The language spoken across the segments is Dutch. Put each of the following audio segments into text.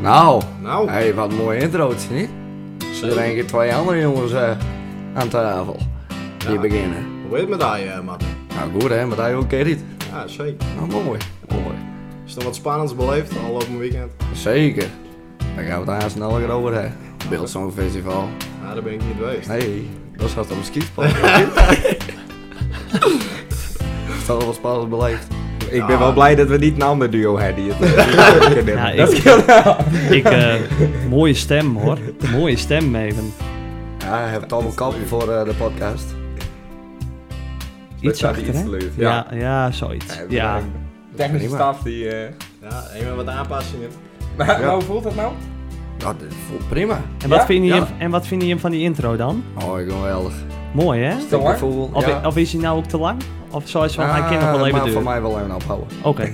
Nou, Nou. hey, wat een mooie introotje, niet? Er Zeker. zijn hier twee andere jongens eh, aan tafel die Ja. beginnen. Hoe heet het met die, eh man? Nou goed hè, maar dat ook keer niet. Ja, zeker. Nou, mooi, mooi. Is er nog wat spannends beleefd afgelopen weekend? Zeker. Daar gaan we het aan sneller over hebben. Beeldsong Festival. Ja, daar ben ik niet geweest. Nee, dat zat op een skispad. Dat was pas beleefd. Ik ben wel blij dat we niet een ander duo hebben. Die het, die Ja, het ik, ik, eh, mooie stem hoor. Mooie stem, Megan. Ja, hij heeft allemaal kappen voor eh, de podcast. Iets achter, hè? Ja. Ja, ja, zoiets. Ja. Ja, Technische Prima. staf die... eh, Ja, even wat aanpassingen. Maar hoe voelt dat nou? Dat eh, voelt prima. En, wat Ja? vind je, Ja. en wat vind je van die intro dan? Oh, ik ben wel erg. Mooi, hè? Te lang? Gevoel, Of, ja. of is hij nou ook te lang? Of zou hij zo, hij kan nog wel Ah, even maar voor duren? mij wel even ophouden. Oké.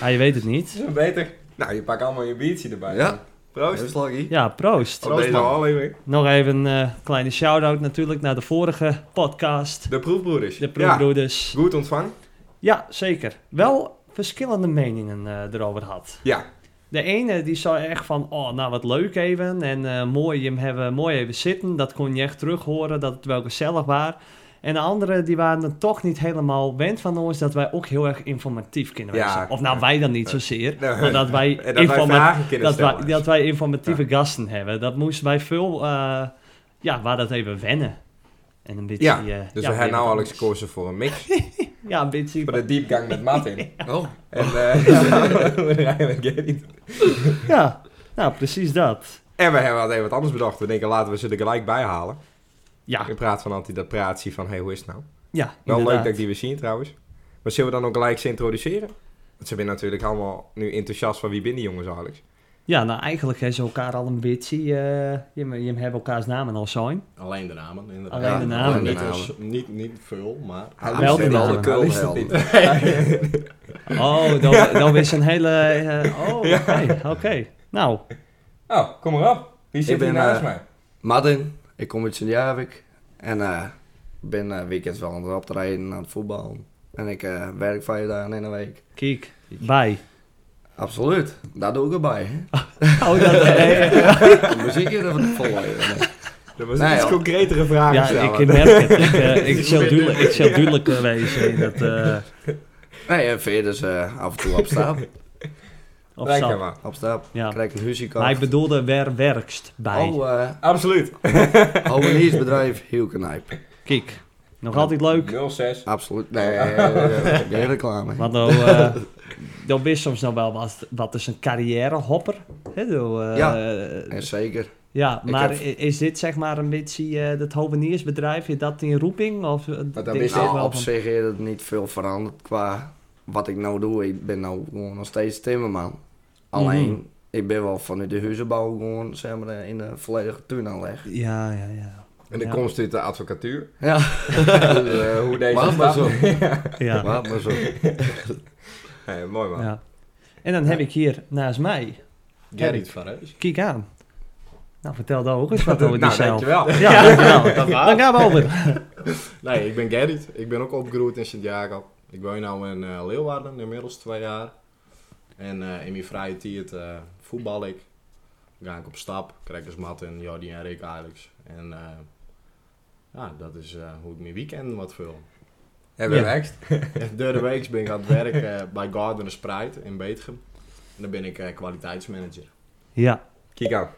ja, je weet het niet. Is het beter? Nou, je pakt allemaal je biertje erbij. Ja, Proost. heel slaggy. Ja, proost. Proost Deze man. man. Oliver. Nog even een eh, kleine shout-out natuurlijk naar de vorige podcast. De proefbroeders. De Proefbroeders. Ja. Ja. Goed ontvangen? zeker. Wel verschillende meningen eh, erover had. Ja. nou, De ene die zei echt van, oh nou wat leuk even en eh, mooi, hem hebben, mooi even zitten. Dat kon je echt terug horen, dat het wel gezellig was. En de andere die waren er toch niet helemaal wend van ons dat wij ook heel erg informatief kunnen Ja, wezen. of nou wij dan niet zozeer, Nee. maar dat wij, En dat wij informa- vragen kunnen dat wij, stellen. dat wij informatieve gasten hebben. Dat moesten wij veel, eh, ja, waar dat even wennen. En een beetje, Ja, eh, Dus ja, we weer hebben nou wat Alex anders. gekozen voor een mix. Ja, een beetje. Voor de diepgang met Matt in. Oh, En eh, we rijden met Gerrit. Ja, nou precies dat. En we hebben wat even wat anders bedacht. We denken laten we ze er gelijk bij halen. Ja, In plaats van altijd dat praatje van hey, hoe is het nou? ja Wel leuk inderdaad. dat ik die weer zie trouwens. Maar zullen we dan ook gelijk ze introduceren? Want ze zijn natuurlijk allemaal nu enthousiast van wie ben die jongens Alex. Ja, nou eigenlijk hebben ze elkaar al een beetje. eh, je, je hebben elkaars namen al zijn. Alleen de namen, inderdaad. Alleen de Ja, namen. Ah, Niet, Alleen de ons- niet, niet veel, maar... Hij wel de wel de namen. Hij kul wist het wel. niet. Oh, dan, dan is een hele. eh, oh, oké. oké. Nou, Oh, kom maar op. Wie zit ben, hier naast eh, mij? Martin, ik kom uit Sint-Javik. En eh, ik ben eh, weekends wel aan het optreden, aan het voetballen. En ik eh, werk vijf dagen in een week. kijk, bij. Absoluut, daar doe ik erbij. Hè? Oh, dat, eh, De muziek is even volgen. Dat was Nee, een iets joh. concretere vraag. ja, stellen. ik merk het. Ik, eh, ik zal duidelijk, ik zal duidelijk eh, wezen in dat. eh Nee, en verder dus eh, af en toe op stap. of Lekker, zal- man. Op stap, Ja. krijg een huzie Maar ik bedoelde, wer werkst bij. Oh, eh Absoluut. hoveniersbedrijf Hielkenijp. Kijk, nog altijd leuk. 06. Absoluut. Nee, eh, ik ben reclame. Want nou, eh dan wist soms nog wel wat, wat is een carrièrehopper. Hè, nou, eh, En zeker. Ja, Ik maar heb- i- is dit zeg maar een beetje eh, dat hoveniersbedrijf, is dat in roeping? Of, eh, dan denk is ik dit Nou, wel op van- zich is het niet veel veranderd qua wat ik nou doe. Ik ben nou gewoon nog steeds timmerman. Alleen, Mhm. ik ben wel vanuit de huizenbouw gewoon, zeg maar, eh, in de volledige tuinaanleg. Ja, ja, ja. En de Ja. komst uit de advocatuur. Ja, Dus, eh, hoe deze Laat maar stap- Ja, laat maar zo. Nee, mooi man. ja. En dan heb ik hier naast mij, Gerrit van Reus. kijk aan. Nou, vertel daar ook eens wat over die nou, cel. dankjewel. Ja, dankjewel. Dat Dan gaan we over. Nee, ik ben Gerrit. Ik ben ook opgegroeid in Sint-Jacob. Ik woon nu in eh, Leeuwarden, inmiddels twee jaar. En eh, in mijn vrije tijd eh, voetbal ik. Ga ik op stap, krijg dus Martin, Jordi en Rick Alex. En eh, ja, dat is eh, hoe ik mijn weekend wat vul. Hebben we Ja. next? Door de week ben ik aan het werk eh, bij Garden Sprite in Betegem. En dan ben ik eh, kwaliteitsmanager. Ja, Kijk aan.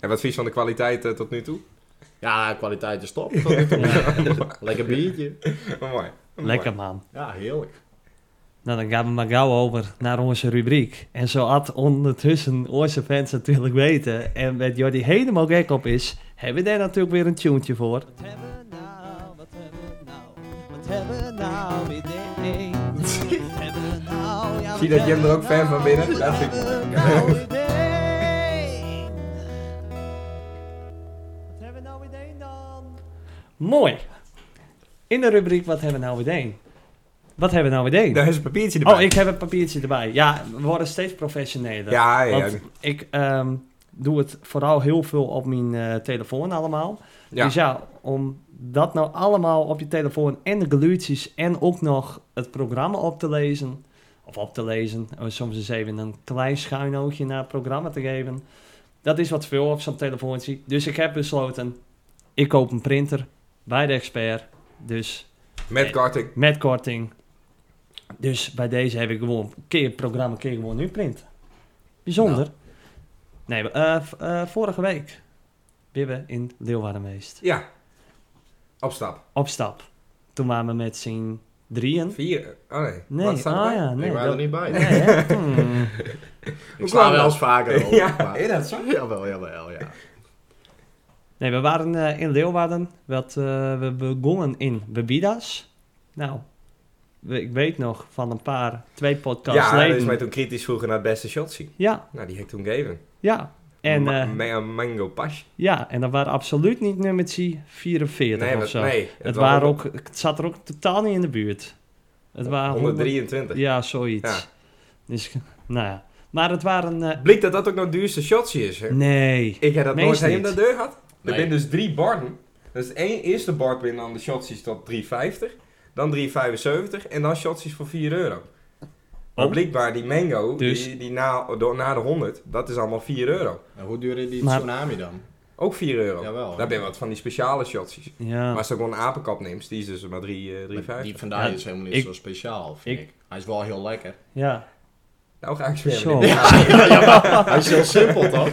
En wat vies van de kwaliteit eh, tot nu toe? Ja, kwaliteit is top. tot nu toe. Lekker biertje. Oh, mooi. lekker man. Ja, heerlijk. Nou, dan gaan we maar gauw over naar onze rubriek. En zo had ondertussen onze fans natuurlijk weten. En wat Jordi helemaal gek op is, hebben we daar natuurlijk weer een tuentje voor. Wat hebben we nou, wat hebben we nou, wat hebben we nou weer deed? Wat hebben we nou, ja, Zie wat dat Jem er ook hebben we fan van binnen? nou, Dat Wat vind ik- hebben we nou weer deed? Wat hebben we nou weer deed dan? Mooi. In de rubriek Wat hebben we nou weer deen? Wat hebben we nou weer deen? Daar is een papiertje erbij. Oh, ik heb een papiertje erbij. Ja, we worden steeds professioneler. Ja, ja, ja. Want ik ehm, doe het vooral heel veel op mijn eh, telefoon allemaal. Ja. Dus ja, om dat nou allemaal op je telefoon en de geluidjes en ook nog het programma op te lezen... of op te lezen. En soms eens even een klein schuin oogje naar het programma te geven. Dat is wat veel op zo'n telefoontje. Dus ik heb besloten, ik koop een printer bij de expert. Dus Met karting. met korting. Dus bij deze heb ik gewoon keer het programma, keer gewoon nu print. Bijzonder. Nee, eh, v- eh, vorige week. Bibbe in Leeuwardenmeest. Ja. Op stap. Op stap. Toen waren we met z'n drieën. Vier. Oh nee. Nee, Wat staat ah erbij? ja, nee. ik was er dat- niet bij. nee, hè? Hmm. Ik kwam sla wel dat? eens vaker op. Ja, maar- is dat zo? Jawel, jawel, ja. Nee, we waren eh, in Leeuwarden. Wat, eh, we begonnen in Bebidas. Nou, we- ik weet nog van een paar, twee podcasts Ja, dat is geleden. mij toen kritisch vroeger naar het beste shot zien. Ja, Nou, die heb ik toen gegeven. ja. En, Ma- eh, Ma- mango Pash. Ja, en dat waren absoluut niet nummertje 44 Nee, of wat, zo. nee. het, was waren ook, ah, het zat er ook totaal niet in de buurt. Het waren 123. Ja, zoiets. Ja. Dus, nou ja. Maar het waren... eh, Blijkt dat dat ook nog het duurste shotje is, hè? nee. Ik heb dat Meest nooit helemaal niet. naar deur gehad. Er Nee. zijn dus drie barden. Dus één eerste bard binnen dan de shotsies tot 3,50. Dan 3,75 en dan shotsies voor 4 euro. Maar Oh. blijkbaar die mango, Dus- die, die na, door, na de 100, dat is allemaal 4 euro. En hoe duurde die Maar- tsunami dan? Ook 4 euro. Jawel. Daar ben wat van die speciale shotsies. Ja. Maar als je gewoon een apenkap neemt, die is dus maar 3, eh, 3,50. Die vandaag Ja, is helemaal niet ik- zo speciaal, vind ik- ik. Hij is wel heel lekker. ja. Nou ga ik zwemmen. Zo. Hij is heel simpel, toch?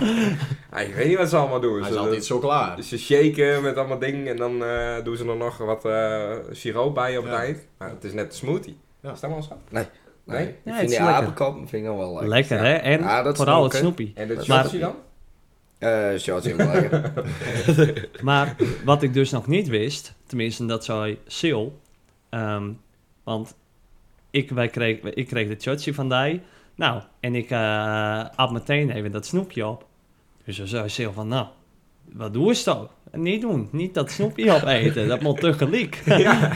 Ah, ik weet niet wat ze allemaal doen. Hij Ze- is altijd zo klaar. Dus ze shaken met allemaal dingen en dan eh, doen ze er nog wat eh, siroop bij op het Ja. eind. Maar het is net een smoothie. Ja. Is dat wel zo? Nee. Nee? Ik Ja, het vind is die lekker. apenkop vind ik nog wel lekker. Lekker, hè? En Ja, dat vooral snap het ik, snoepie. En dat Maar- shotje dan? Eh, shots in lekker. Maar wat ik dus nog niet wist, tenminste dat zei Sil, ehm, want ik, wij kreeg, ik kreeg de tjotje van die. Nou, en ik eh at meteen even dat snoepje op. Dus dan zei Sil van, nou, wat doe je dan? Niet doen, niet dat snoepje opeten, dat moet tegelijk. Ja.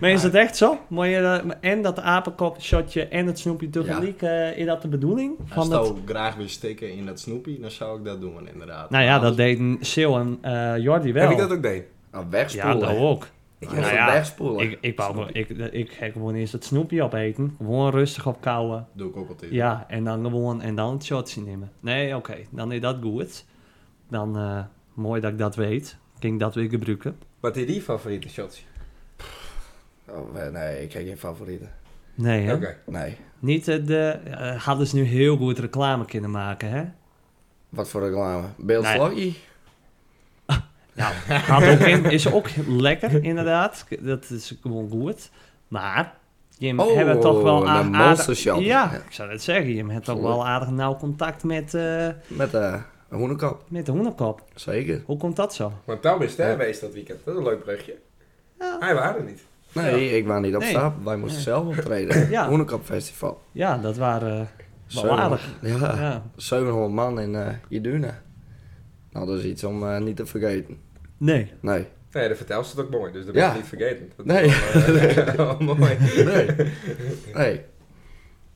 Maar is het echt zo? Moet je, dat- en dat apenkop shotje en het snoepje tegelijk, eh, is dat de bedoeling? Als Van je dat... ook graag wil stikken in dat snoepie, dan zou ik dat doen, inderdaad. Nou ja, dat Anders- deden Sil en eh, Jordi wel. Heb ik dat ook deed? Nou, ja, wegspoelen. dat ook. Ik Nou heb ja, het wegspoelen. Ik, ik, wou, gewoon- ik, ik ga gewoon eerst dat snoepje opeten. Gewoon rustig opkouwen. Doe ik ook altijd. Ja, en dan gewoon en dan het shotje nemen. Nee, oké, dan is dat goed. Dan, eh, mooi dat ik dat weet. Kan ik dat weer gebruiken? Wat is die favoriete shotje? Oh, eh, nee, ik heb geen favorieten. Nee, hè? Oké. Nee. Niet eh, de... eh, hadden ze nu heel goed reclame kunnen maken, hè? Wat voor reclame? Beeldslagje? Nou, had ook in- is ook lekker, inderdaad. Dat is gewoon goed. Maar... Je Oh, hebt toch wel een aardig... monster shot. Ja, ik zou het zeggen. Je hebt toch wel aardig nauw contact met, eh, Met eh, een hoenekap. met de hoenderkop. Zeker. Hoe komt dat zo? Want Tom is daar geweest dat weekend. Dat is een leuk brugje. Hij waren er niet. Nee, ik was niet op Nee. stap. Wij moesten zelf optreden. Ja. Hoenekapfestival. Ja, dat waren eh, wel aardig. Ja. Ja. 700 man in eh Iduna. Nou, dat is iets om eh, niet te vergeten. Nee. Nee. Nee, dat vertelt ze het ook mooi. Dus dat Ja. ben je niet vergeten. Dat is Nee. wel, eh, wel mooi. Nee. nee.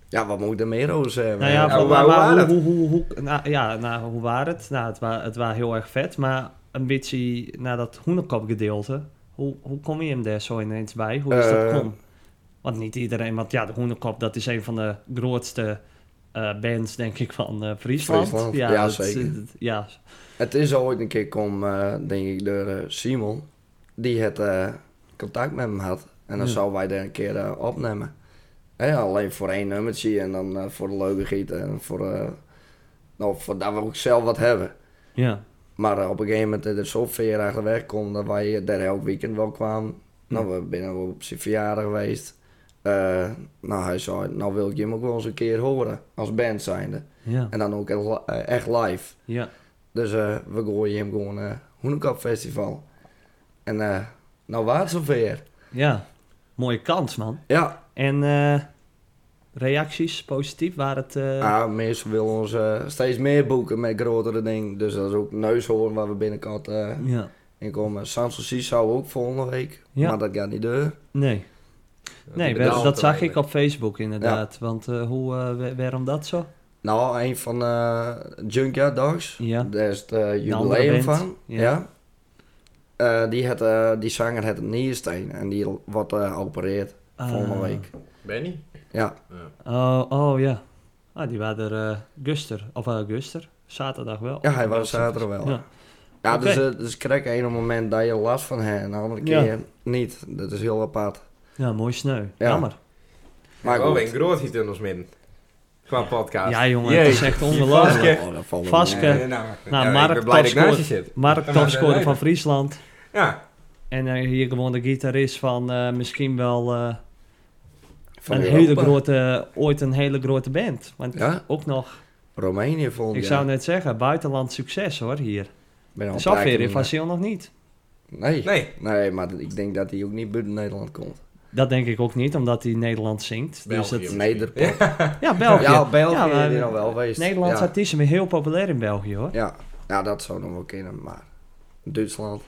Ja, wat moet ik er meer over zeggen? Eh, Nou ja, Ja, maar- hoe- hoe maar waren hoe, hoe, hoe, hoe- nou, ja, nou, hoe waren het? Nou, het was het wa heel erg vet, maar een beetje naar dat hoenekopgedeelte. Hoe, hoe kom je hem daar zo ineens bij? Hoe is dat Eh. kom? Want niet iedereen, want ja, de hoenekop, dat is een van de grootste eh, bands, denk ik, van eh, Friesland. Friesland, ja, dat- zeker. dat- ja, Het is ooit een keer kom, eh, denk ik, door eh, Simon. Die het eh, contact met hem had. En dan Ja. zouden wij daar een keer eh, opnemen. Hè, alleen voor één nummertje en dan eh, voor de leuke gieten. En voor, eh, nou, voor dat we ook zelf wat hebben. ja. Maar eh, op een gegeven moment dat er zoveel achter weg kon dat wij eh, daar elk weekend wel kwamen. Nou, we zijn wel op zijn verjaardag geweest. Eh, nou, hij zei, nou wil ik hem ook wel eens een keer horen. Als band zijnde. ja, En dan ook echt li- eh, echt live. ja. Dus eh, we gooien hem gewoon eh Hoenekap Festival. En eh nou waar het zover. ja. Mooie kans, man. Ja, En eh, reacties, positief, waren het... eh, ah, mensen willen ons eh, steeds meer boeken met grotere dingen. Dus dat is ook neushoorn waar we binnenkort eh, Ja, in komen. Sanssouci zou ook volgende week, Ja. maar dat gaat niet door. nee. Nee, bedaalt wel- dat er zag wel ik op Facebook inderdaad. Want eh, hoe, eh, wa- waarom dat zo? Nou, een van eh Junkyard Dogs, Ja. daar is het eh, andere jubileum band, van. ja. Ja. Eh, die, had, eh, die zanger had een nierstein en die wordt eh opereerd. volgende Ah. week. Benny? Ja, Oh, oh ja. Ah, die waren er eh guster. Of eh guster. Zaterdag wel. ja hij was zaterdag wel. Ja. Ja, dus, Oké. eh, dus krijg je een moment dat je last van hebt en de andere Ja. keer niet. Dat is heel apart. ja, mooi sneu. Ja. Jammer. Maar oh, goed. en groot is in ons midden. Qua podcast. Ja, jongen, het is echt ongelooflijk. Vaske. Oh, dat valt wel Vaske. mee. Eh, nou, Nou, ja, Mark ik ben blij dat ik naast je topscorer. zit. Mark, Dan mag je topscorer van blijven. Friesland. Ja, En eh, hier gewoon de gitarist van eh, misschien wel eh, Van een Europa. hele grote, ooit een hele grote band. Want Ja? ook nog, Roemenië vond ik zou net zeggen, buitenland succes hoor hier. ben al een paar keer Zafir in in- Fasil nog niet. Nee. nee. nee. maar ik denk dat hij ook niet buiten Nederland komt. Dat denk ik ook niet, omdat hij Nederlands zingt. Dus België. dat, Nederland. ja, België. Ja, België Ja, maar- is hier al wel geweest. Nederlandse ja. artiesten zijn heel populair in België hoor. Ja. ja, dat zou nog wel kunnen, maar Duitsland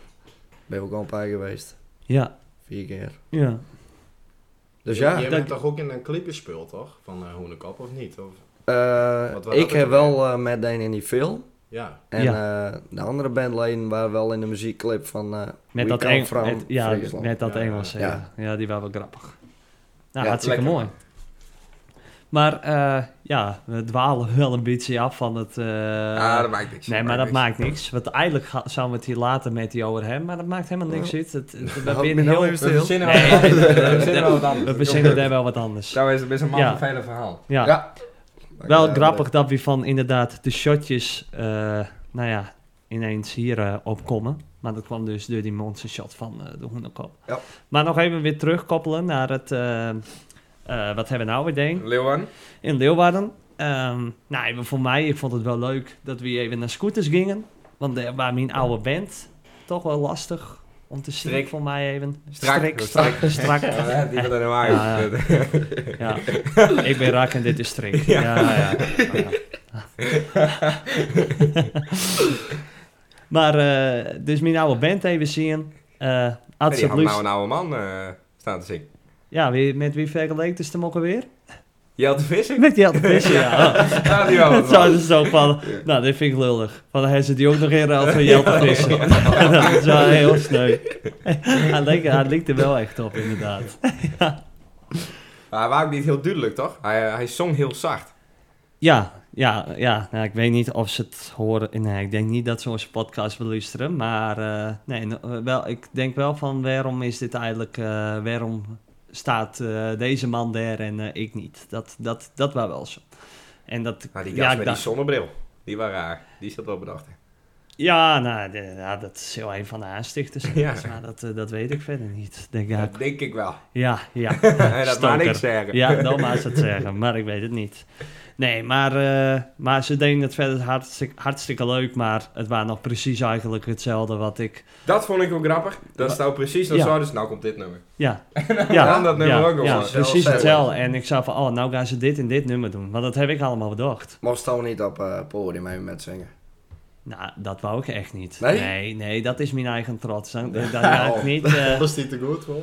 ben ik ook al een paar keer geweest. Ja, Vier keer. ja. Dus Je- ja, Je Dank- bent toch ook in een clip gespeeld, toch? Van eh Hoenekop, of niet? Of... eh, Wat was ik dat heb ook wel eh, met Deen in die film. Ja. En eh, de andere bandleden waren wel in de muziekclip van eh We Met dat, Come Eng- From met- ja, Friesland. met dat Ja, Engels. Ja, ja. ja. die waren wel grappig. Nou, Ja, hartstikke lekker. mooi. Maar eh, ja, we dwalen wel een beetje af van het... eh, ah, dat maakt niks. nee, maar dat niks. maakt niks. Want eigenlijk ga- zouden we het hier later met die over hebben. Maar dat maakt helemaal niks uit. Het, het- we, Hou beginnen me nou heel, We even stil. verzinnen Nee, wel- nee, nee, nee, we verzinnen wel wat we anders. verzinnen daar wel wat anders. Ja, Nou is het best een man Ja. van vele verhaal. Ja. wel Eh, grappig dat we van inderdaad de shotjes... eh, nou ja, ineens hier eh, opkomen. Maar dat kwam dus door die monstershot van eh, de hoenderkop. Ja. Maar nog even weer terugkoppelen naar het... eh, eh, wat hebben we nou weer deen? Leeuwen? In Leeuwarden. Ehm nou, even voor mij, ik vond het wel leuk dat we even naar scooters gingen. Want daar waar mijn oude band toch wel lastig om te zien Strik. voor mij even. Strak. strak, strak. Ja, die wil er nou Ja, uit. Ja. Ik ben rak en dit is strik. Ja, ja. ja, ja. maar, eh, dus mijn oude band even zien. Eh Ja, had Die ze had het nou liefst... een oude man eh, staan te zingen. Ja, wie, met wie vergeleek is hem ook alweer? Jelte Vissing? Met die oude vissen, ja. Oh. Ja, Oh, die wel. Dat zou dus zo van, nou, dit vind ik lullig. Van hij zit die ook nog in ruil voor Jelte Vissen. dat is wel heel sneu. hij, leek, hij leek er wel echt op, inderdaad. Maar hij was ook niet heel duidelijk, toch? Hij, eh, hij zong heel zacht. Ja, ja, ja. Nou, ik weet niet of ze het horen. Nee, ik denk niet dat ze onze podcast beluisteren. Maar eh, nee, no- wel, ik denk wel van waarom is dit eigenlijk... eh, waarom staat eh, deze man daar en eh, ik niet? Dat, dat, dat was wel zo. En dat, Maar Nou, die ja, gast ik met dacht- die zonnebril, die was raar. Die zat wel bedacht. Ja, nou, de- ja, dat is heel een van de aanstichters. Ja. Maar dat, eh, dat weet ik verder niet. Denk, ja, Dat denk ik wel. ja, ja. En dat mag Stoker. niks zeggen. Ja, dan maar ze het zeggen, maar ik weet het niet. Nee, maar, eh, maar ze deden het verder hartstikke, hartstikke leuk, maar het waren nog precies eigenlijk hetzelfde wat ik... Dat vond ik wel grappig. Dat stond precies, dan Ja. zou dus, nou komt dit nummer. Ja, ja, dan dat nummer ja, ook nog ja, wel. precies Zelf- hetzelfde. En ik zei van, oh, nou gaan ze dit en dit nummer doen, want dat heb ik allemaal bedacht. Mocht Toon niet op eh podium even met zingen. Nou, dat wou ik echt niet. Nee? Nee, nee, dat is mijn eigen trots. Dan, dan ga ik Nou, Oh. niet... eh, Was die te goed, hoor?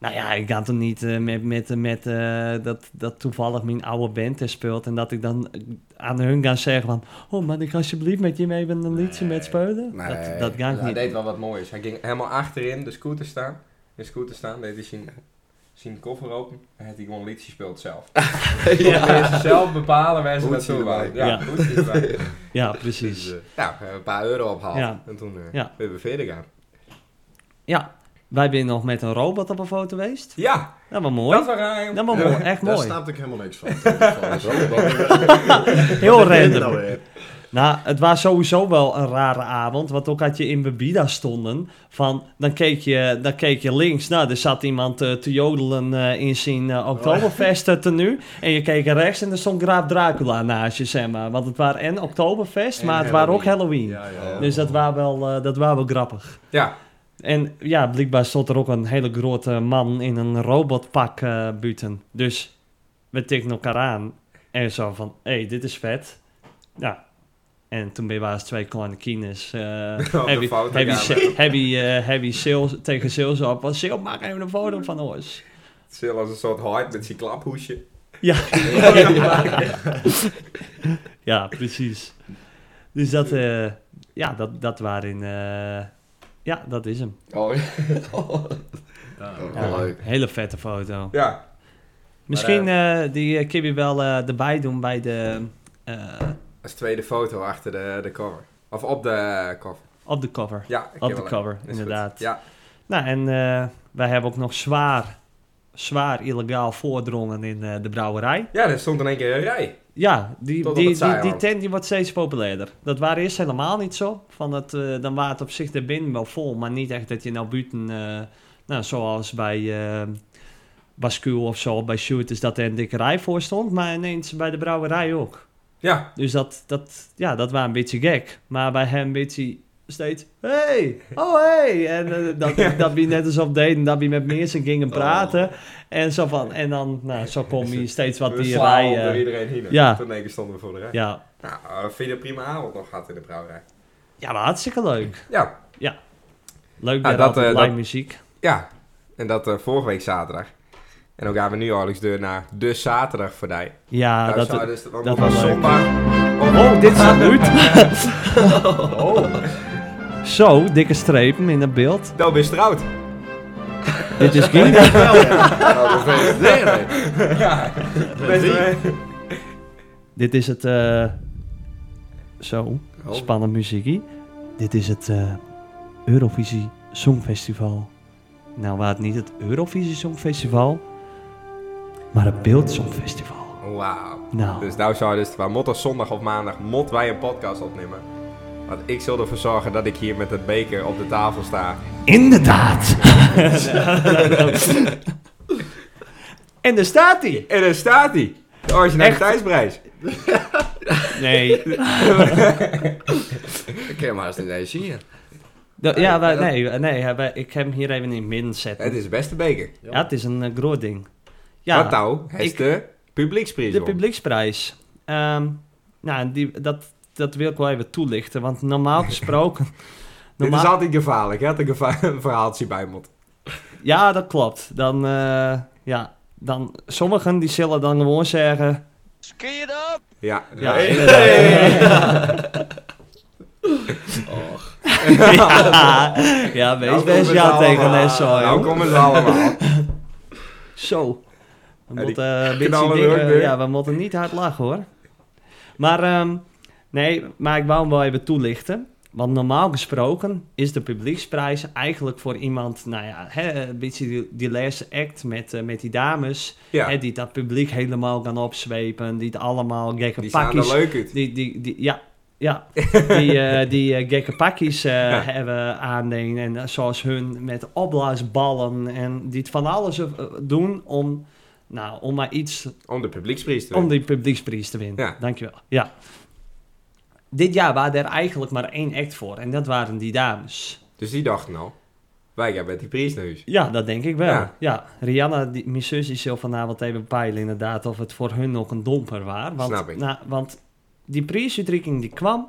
Nou ja, ik had hem niet eh, met, met, met eh, dat, dat toevallig mijn oude band er speelt. En dat ik dan eh, aan hun ga zeggen van... Oh, maar ik alsjeblieft met je mee ben een liedje Nee. met spelen. Nee. Dat, dat ga Ja, ik hij niet. deed wel wat moois. Hij ging helemaal achterin de scooter staan. De scooter staan, deed hij zijn, zijn koffer open. En had hij gewoon een liedje gespeeld zelf. ja. ze zelf bepalen waar ze Hoedje naartoe erbij. waren. Ja, Ja. hoedje erbij. Ja, Dus, precies. eh, Nou, we hebben een paar euro opgehaald. Ja. En toen eh Ja. hebben we verder gaan. Ja, wij zijn nog met een robot op een foto geweest. Ja, Dat was mooi. dat was raar. Dat was mooi, echt Daar mooi. snapte ik helemaal niks van. in ieder geval. Zo, wat- Heel wat is dit nou random. weer? Nou, het was sowieso wel een rare avond. Want ook had je in Bebida stonden. Van, dan, keek je, dan keek je links. Nou, er zat iemand eh, te jodelen eh, in zijn Oh. eh, Oktoberfest eh, tenue. En je keek rechts en er stond Graaf Dracula naast je, zeg maar. Want het waren en Oktoberfest, En maar het waren ook Halloween. Halloween. Ja, ja. Dus dat was wel, eh, dat was wel grappig. Ja, En ja, blijkbaar stond er ook een hele grote man in een robotpak eh buiten. Dus we tikten elkaar aan. En zo van, hé, hey, dit is vet. Ja. En toen ben je als twee kleine kines. eh de heavy, foto heavy, gaan se- heavy, eh, heavy sales, tegen sales op. Want sales, maak even een foto van ons. het is heel als een soort hard met zijn klaphoesje. Ja. ja, precies. Dus dat, eh, ja, dat, dat waarin, eh, ja, dat is hem. Oh, Ja. Wel leuk. Hele vette foto. Ja, Misschien eh, die uh, Kibby wel eh, erbij doen bij de, eh, als tweede foto achter de, de cover. Of op de cover. op de cover. Ja, ik Op heb de wel- cover, is goed. inderdaad. Ja, Nou, en eh, wij hebben ook nog zwaar, zwaar illegaal voordrongen in eh, de brouwerij. ja, er stond in één keer een rij. Ja, die, Tot op die, het die, die zijhand. tent die wordt steeds populairder. Dat waren eerst helemaal niet zo. Van dat, eh, dan waren het op zich de binnen wel vol, maar niet echt dat je nou buiten, eh, nou, zoals bij eh Bascuul of zo, bij Shooters, dat er een dikke rij voor stond. Maar ineens bij de brouwerij ook. Ja, Dus dat, dat, ja, dat was een beetje gek. Maar bij hem een beetje steeds... Hey! Oh, hey! En eh, dat, dat we net alsof deden dat we met mensen Oh. gingen praten. En, zo van, en dan nou, zo kom je steeds wat we slaan dierbij. door eh iedereen heen. ja. Toen in één keer stonden we voor de rij. ja. Nou, eh, vind je een prima avond nog gehad in de brouwerij? ja, maar hartstikke leuk. Ja, Leuk Ja, met dat, dat, eh, live dat- muziek. ja. En dat eh, vorige week zaterdag. En dan gaan we nu Alex deur naar de zaterdag voorbij. Ja, Nou, dat... zou dus, want dat het was was leuk. zondag. Oh, dit is goed. Oh, Zo, dikke strepen in het beeld. dat is trouwd. Dit is geen... Nou, dat is het derde. Ja, best wel. Dit is het... eh, zo, Oh. spannend muziekie. Dit is het eh, Eurovisie Songfestival. Nou, waar het niet het Eurovisie Songfestival, maar het Beeld Songfestival. Wauw. Nou, Dus nou zou je dus, waar mot als zondag of maandag, mot wij een podcast opnemen. Want ik zal ervoor zorgen dat ik hier met het beker op de tafel sta. inderdaad! en daar staat hij! En daar staat hij. De originaliteitsprijs. Nee, Ik ken hem haast niet eens hier. da- ja, wij- nee, nee eh, wij- ik heb hem hier even in het midden Het zetten. is de beste beker. Ja, het is een eh, groot ding. Ja, Ja, Wat nou? Het is ik- de publieksprijs. De hoor. publieksprijs. Ehm, nou, en die, dat, dat wil ik wel even toelichten, want normaal gesproken... Dit normaal- is altijd gevaarlijk. Je had er geva- een verhaaltje bij mot. Ja, dat klopt. Dan, eh, ja, dan, sommigen die zullen dan gewoon zeggen... Skid up! Ja. Ja, Hey. inderdaad. Och. ja, ja, wees Nou komen best ze ja tegen allemaal. les zo, Nou joh. komen ze allemaal. Zo. We die moeten, eh, een knallen beetje er ook dingen- weer. ja, we moeten niet hard lachen, hoor. Maar, ehm, nee, maar ik wou hem wel even toelichten. Want normaal gesproken is de publieksprijs eigenlijk voor iemand, nou ja, hè, een beetje die, die laatste act met, eh, met die dames. Ja. Hè, die dat publiek helemaal kan opzwepen. Die het allemaal gekke Die staan er pakjes. leuk uit. Die, die, die, ja, ja. die eh, die eh, gekke pakjes eh, Ja. hebben aandingen. En eh, zoals hun met opblaasballen. En die het van alles eh, doen om, nou, om maar iets Om de publieksprijs te om winnen. die publieksprijs te winnen. Ja. Dankjewel. Ja. Dit jaar waren er eigenlijk maar één act voor. En dat waren die dames. Dus die dachten al. Wij gaan met die prijs naar huis. Ja, dat denk ik wel. Ja, Ja. Rihanna, die, mijn zus, die zal vanavond even peilen inderdaad of het voor hun nog een domper was. Want, Snap ik. Nou, want die prijsuitreiking die kwam.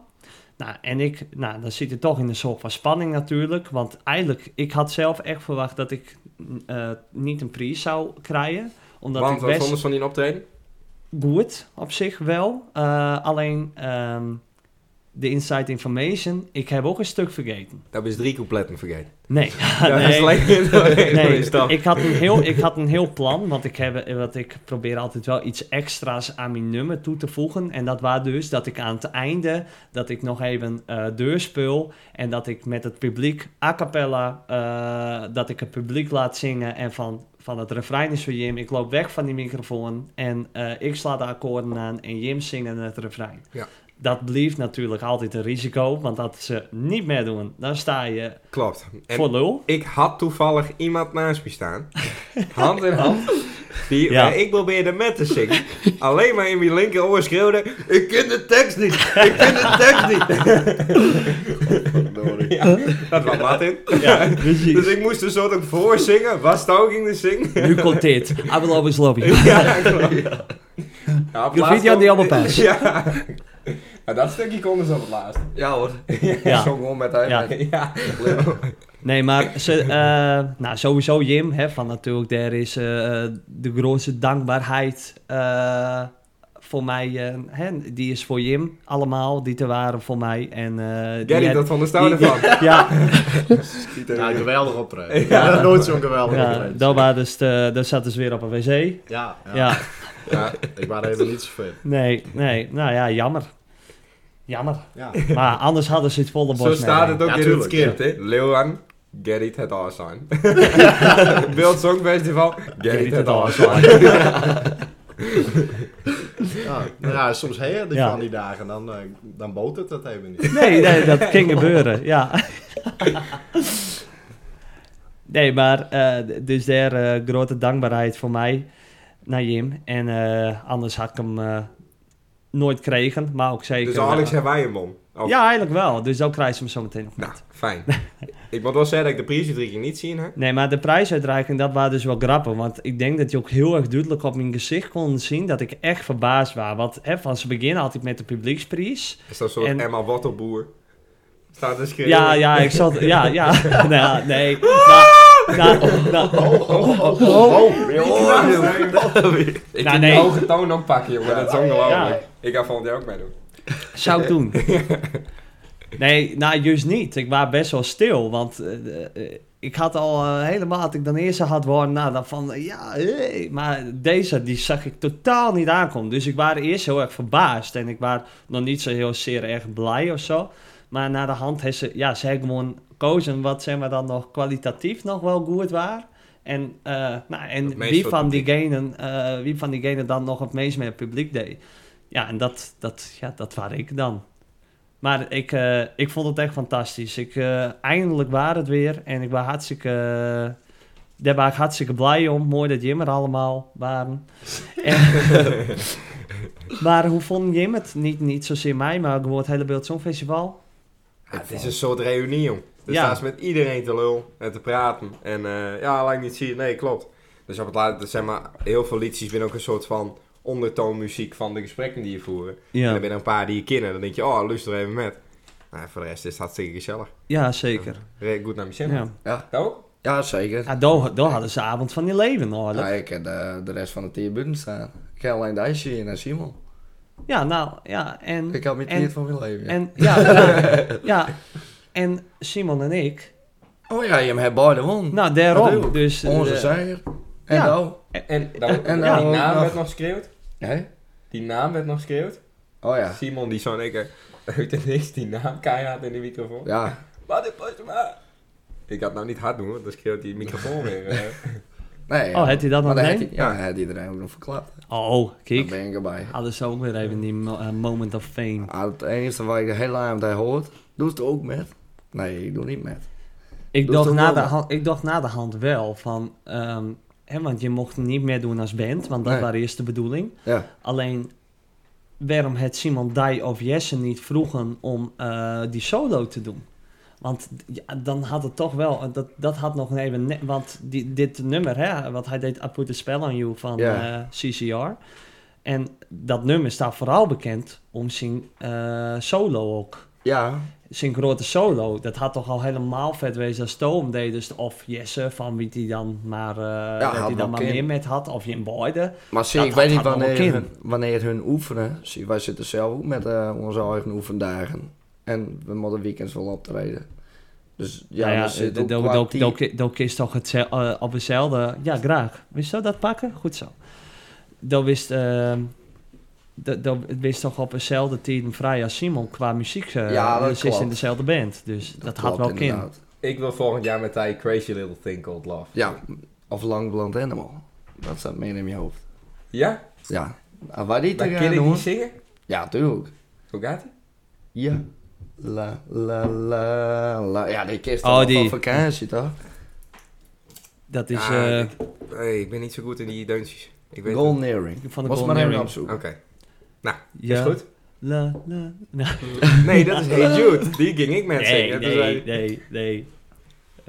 Nou, en ik, nou, dan zit je toch in een soort van spanning natuurlijk. Want eigenlijk, ik had zelf echt verwacht dat ik eh, niet een prijs zou krijgen. Omdat Want ik wat best vonden ze van die optreden? goed op zich wel. Eh, alleen ehm, de inside information, ik heb ook een stuk vergeten. Dat is drie coupletten vergeten. Nee, Dat is nee. alleen doorheen Nee, door die stap. ik had, een heel, ik had een heel plan, want ik, heb, want ik probeer altijd wel iets extra's aan mijn nummer toe te voegen. En dat was dus dat ik aan het einde, dat ik nog even eh deurspul en dat ik met het publiek a cappella, eh, dat ik het publiek laat zingen en van, van het refrein is van Jim, ik loop weg van die microfoon en eh, ik sla de akkoorden aan en Jim zingt het refrein. Ja. Dat blijft natuurlijk altijd een risico, want dat ze niet meer doen, dan sta je Klopt. En voor lul. ik had toevallig iemand naast me staan. Hand in hand. Die, Ja. waar Ik probeerde met te zingen. Alleen maar in mijn linkeroor schreeuwde... Ik ken de tekst niet! Ik ken de tekst niet! Ja, dat was Martin. Ja, precies. Dus ik moest er zo ook voor zingen. Was Stalking de zing? Nu komt dit. I will always love you. Ja, klopt. Ja, op Je laatst video kon- die allemaal pas. Ja. Ja, dat stukje konden ze op het laatst. Ja hoor. Ja. Ik zong gewoon met hem. Ja. Ja. Nee, maar ze, eh, nou, sowieso Jim, hè, van natuurlijk, daar is eh, de grootste dankbaarheid eh, voor mij, eh, hè, die is voor Jim allemaal, die te waren voor mij. En, eh, die Gary, had- dat ondersteunen die- van. Ja, Ja, geweldig optreden. Ja, nooit zo'n geweldig ja optreden. dat waren dus de, dat zat dus weer op een wc. Ja, ja. ja. Ja, ik was er even niet zo fit. Nee, nee. Nou ja, jammer. Jammer. Ja. Maar anders hadden ze het volle bos Zo staat mee. het ook Ja, in het tuurlijk. script, hè? Leeuwen, Gerrit het Aarsan. Beeld Songfestival, Gerrit het Aarsan. Ja, nou ja, soms heen je die Ja. van die dagen, dan, eh, dan boot het dat even niet. Nee, nee, dat ging gebeuren, ja. Nee, maar eh, d- dus daar eh, grote dankbaarheid voor mij naar Jim. En eh, anders had ik hem eh, nooit kregen, maar ook zeker... eh, Dus Alex en wij hem om. Of- Ja, eigenlijk wel. Dus dan krijg je hem zo meteen nog Nou, met. fijn. ik moet wel zeggen dat ik de prijsuitreiking niet zie, hè? Nee, maar de prijsuitreiking, dat was dus wel grappig. Want ik denk dat je ook heel erg duidelijk op mijn gezicht kon zien dat ik echt verbaasd was. Want hè, van zijn begin had ik met de publieksprijs. Is dat een soort En- Emma Wattelboer? Staat er schreeuwen. Ja, ja, ik zat... Ja, ja. nou, nee. Maar, nou, nou, Ik Nou, kan nee. die hoge toon oppakken, jongen. Dat is ongelooflijk. Ja. Ik ga volgend jaar ook meedoen. zou ik doen. Nee, nou, juist niet. Ik was best wel stil, want eh, eh, ik had al eh, helemaal, had ik dan eerst had worden, nou, dan van, eh, ja, eh, maar deze, die zag ik totaal niet aankomen. Dus ik was eerst heel erg verbaasd en ik was nog niet zo heel zeer erg blij of zo. Maar na de hand heeft ze, ja, ze heeft gewoon gekozen wat, zeg maar, dan nog kwalitatief nog wel goed was. En, eh, nou, Het en meest wie voor van, het diegenen, eh, wie van diegenen dan nog het meest met het publiek deed. Ja, en dat, dat, ja, dat waar ik dan. Maar ik, eh, ik vond het echt fantastisch. Ik, eh, eindelijk waar het weer. En ik was hartstikke, eh, daar was ik hartstikke blij om. Mooi dat Jim er allemaal waren. En- maar hoe vond Jim het? Niet, niet zozeer mij, maar gewoon het hele Beeld Songfestival. Ja, het is een soort reunie, jong. Dus Ja. daar is met iedereen te lul en te praten. En eh, ja, laat ik niet zien. Nee, klopt. Dus op het laatste, zeg maar, heel veel liedjes binnen ook een soort van ondertoonmuziek van de gesprekken die je voeren. En Ja, er zijn een paar die je kennen. Dan denk je, oh, luister even met. Nou, voor de rest is het hartstikke gezellig. ja zeker. Re- Goed naar mijn zin. Ja. Nou, Ja, zeker. Ja, daar daar hadden ze de avond van je leven Ja, hoor. ik heb de, de rest van het team buiten staan. Ik heb alleen de ijsje en Simon. Ja, nou, ja. En, Ik had met en- niet van mijn leven. ja. En, ja, ja, ja, en Simon en ik. Oh ja, je hebt hem beide won. Nou, daarom. Natuurlijk. Dus, eh, Onze zijger. En ja. nou? en, dan, en die nou naam nog- werd nog geschreeuwd. Hè? Die naam werd nog geschreeuwd. Oh ja. Simon die zo in één keer uit het niks die naam keihard in de microfoon. Ja. Wat is pas maar? Ik had het nou niet hard doen, want dan schreeuwt die microfoon weer. eh. Nee, Oh, had hij dat maar dan nog mee? had hij- Ja, had iedereen ook nog verklapt. Oh, Daar kijk. ben ik erbij. Hadden ze ook weer even die mo- eh, moment of fame. Ah, het enige waar ik de hele avond aan hoort, doet het ook met. Nee, ik doe niet met. Ik Dat dacht, is toch na wel de wat? hand, ik dacht na de hand wel van... ehm, hè, want je mocht niet meer doen als band, want dat Nee. was eerst de bedoeling. Ja. Alleen, waarom het Simon Dai of Jesse niet vroegen om eh, die solo te doen? Want ja, dan had het toch wel... Dat, dat had nog even... ne- want die, dit nummer, hè, wat hij deed... I put a spell on you van Ja. eh, CCR. En dat nummer staat vooral bekend om zijn eh, solo ook Ja. zijn grote solo, dat had toch al helemaal vet wezen als Toom deed. Dus of Jesse, van wie die dan maar, eh, dat had hij dan wel maar kind. meer met had. Of Jim Boyden. Maar zie, Dat ik had- weet niet had allemaal wanneer kind. hun, wanneer hun oefenen. Zie, wij zitten zelf ook met eh, onze eigen oefendagen. En we moeten weekends wel optreden. Dus ja, Nou ja, dan zit eh, ook do- qua do- team- do- do- do- is toch het, eh, op hetzelfde... Ja, graag. Wist je dat pakken? Goed zo. Dan wist... ehm, dat- dat wist toch op hetzelfde team vrij als Simon qua muziek. eh Ja, dat dus is in klopt. dezelfde band. Dus dat, had klopt wel kind. inderdaad. Ik wil volgend jaar met die Crazy Little Thing Called Love. Ja, of Langblond Animal. Dat staat meer in mijn hoofd. Ja? Ja. Nou, waar die Dan eh, te kan gaan ik die doen? zingen? Ja, tuurlijk. Hoe gaat het? Ja. La, la, la, la. Ja, die kist Oh, al die. van vakantie, toch? Dat is... Ja, eh, ik- Nee, ik ben niet zo goed in die deuntjes. Ik weet Golden Earring. van de Was maar Golden even Earring. opzoeken. het. Oké. Ja. Is goed? La, la, la. Nee, dat is Hey Jude. Die ging ik met Nee, zingen. Dus Toen zei nee, ik, nee, nee.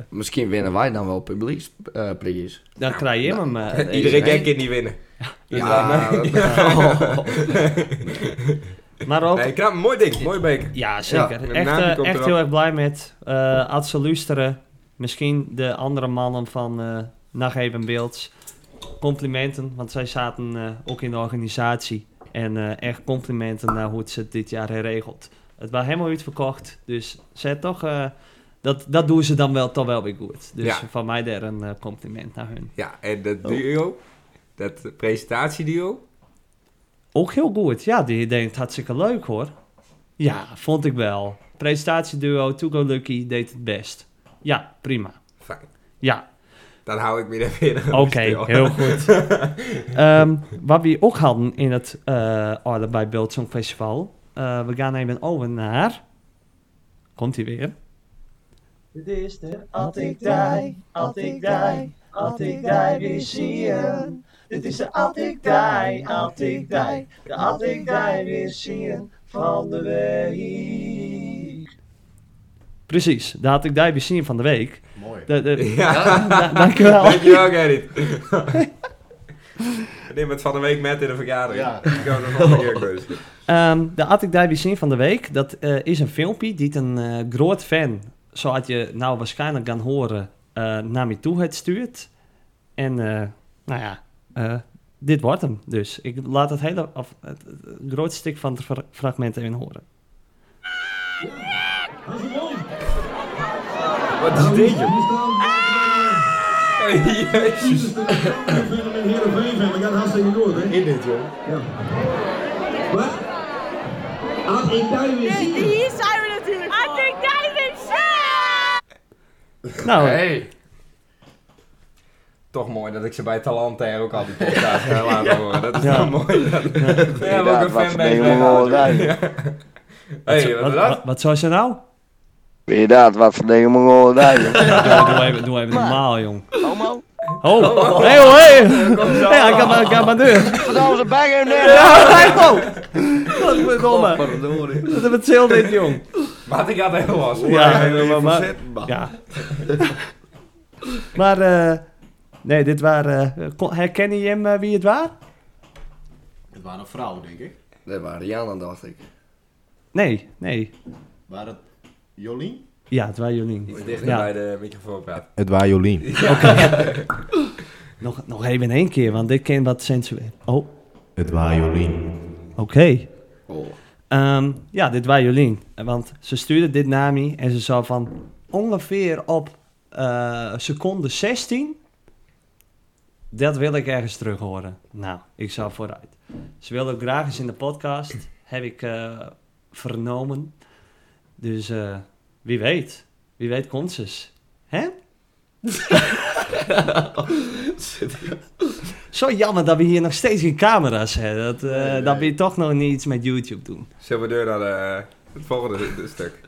Misschien winnen wij dan wel eh, publieksprijs. Dan krijg je hem. eh, deze. Iedereen nee. kan kind niet winnen. Dus ja, dan- dat- Oh. maar ook, Nee, knap, mooi ding. Mooi beker. Oh. ja zeker. Ja, de echt naam die eh, komt echt erop. heel erg blij met. eh Ad ze luisteren. Misschien de andere mannen van eh Nacht Even Beelds. Complimenten, want zij zaten eh, ook in de organisatie. En eh, echt complimenten naar hoe het ze dit jaar herregelt. Het was helemaal uitverkocht, dus zet toch... eh, dat, dat doen ze dan wel, toch wel weer goed. Dus Ja. van mij daar een eh, compliment naar hun. Ja, en dat duo, dat presentatieduo. Ook heel goed. Ja, die denkt hartstikke leuk hoor. Ja, vond ik wel. Presentatieduo Togo Lucky deed het best. Ja, prima. Fijn. Ja, Dan hou ik me er weer oké, heel goed. Ehm, wat we ook hadden in het eh Order bij Beeld Songfestival. eh, we gaan even over naar... Komt hij weer? Dit is de At ik die, At ik die, At ik die weer zien. Dit is de At ik die, At ik die, de At ik die weer zien van de week. Precies, daar had ik daar weer zien van de week. Mooi. De, de, Ja, da- dankjewel. dankjewel Gerrit. Ik Neem het van de week met in de vergadering. Ja. Ik ga nog een keer keuzen. Ehm, de At ik daar weer zien van de week, dat eh, is een filmpje die een eh, groot fan, zo had je nou waarschijnlijk gaan horen, eh, naar me toe het stuurt. En eh, nou ja, eh, dit wordt hem dus. Ik laat het hele, of het, het- het grootste stuk van het fra- fragment even horen. Wat is dit, joh? Jezus. In dit, joh. Nee, hier zijn we natuurlijk. I think that is Nou, Hey. Toch mooi dat ik ze bij Talanta er ook al die podcast ga laten horen. Dat is Ja. wel mooi. Dat, we hebben ook een Inderdaad, wat fan bij verdienen we mooi Hé, daar. hey, wat is wat, dat? wat, wat zou ze nou? Inderdaad, wat voor dingen mogen we wel daar. Doe, doe even, doe even normaal, jong. Homo? Oh, hey, oh, hey. Ja, ik ga maar, ik ga maar deur. Verdomme, ze bang hem Ja, hey, oh. Godverdomme. Wat wat zil dit, jong? Wat ik had heel was. Ja, maar, maar, ja. maar eh, nee, dit waren. eh, kon- herken je hem eh, wie het waar? Het waren vrouwen, denk ik. Dat waren Jana, dacht ik. Nee, nee. Waren het Jolien? Ja, het waren jullie niet. Iets dichter Ja. bij de microfoon praten. Het waren Jolien. Nog, nog even in één keer, want dit kan wat sensueel. Oh, oké. Het waren Jolien. Ehm, ja, dit waren Jolien. Want ze stuurde dit naar me en ze zou van ongeveer op eh, seconde 16. Dat wil ik ergens terug horen. Nou, ik zou vooruit. Ze wilde ook graag eens in de podcast. Heb ik eh, vernomen. Dus eh, wie weet. Wie weet komt ze. eens. Hè? Zo jammer dat we hier nog steeds geen camera's hebben. Dat, eh, Nee, nee. dat we hier toch nog niet iets met YouTube doen. Zullen we door naar de, het volgende de- stuk?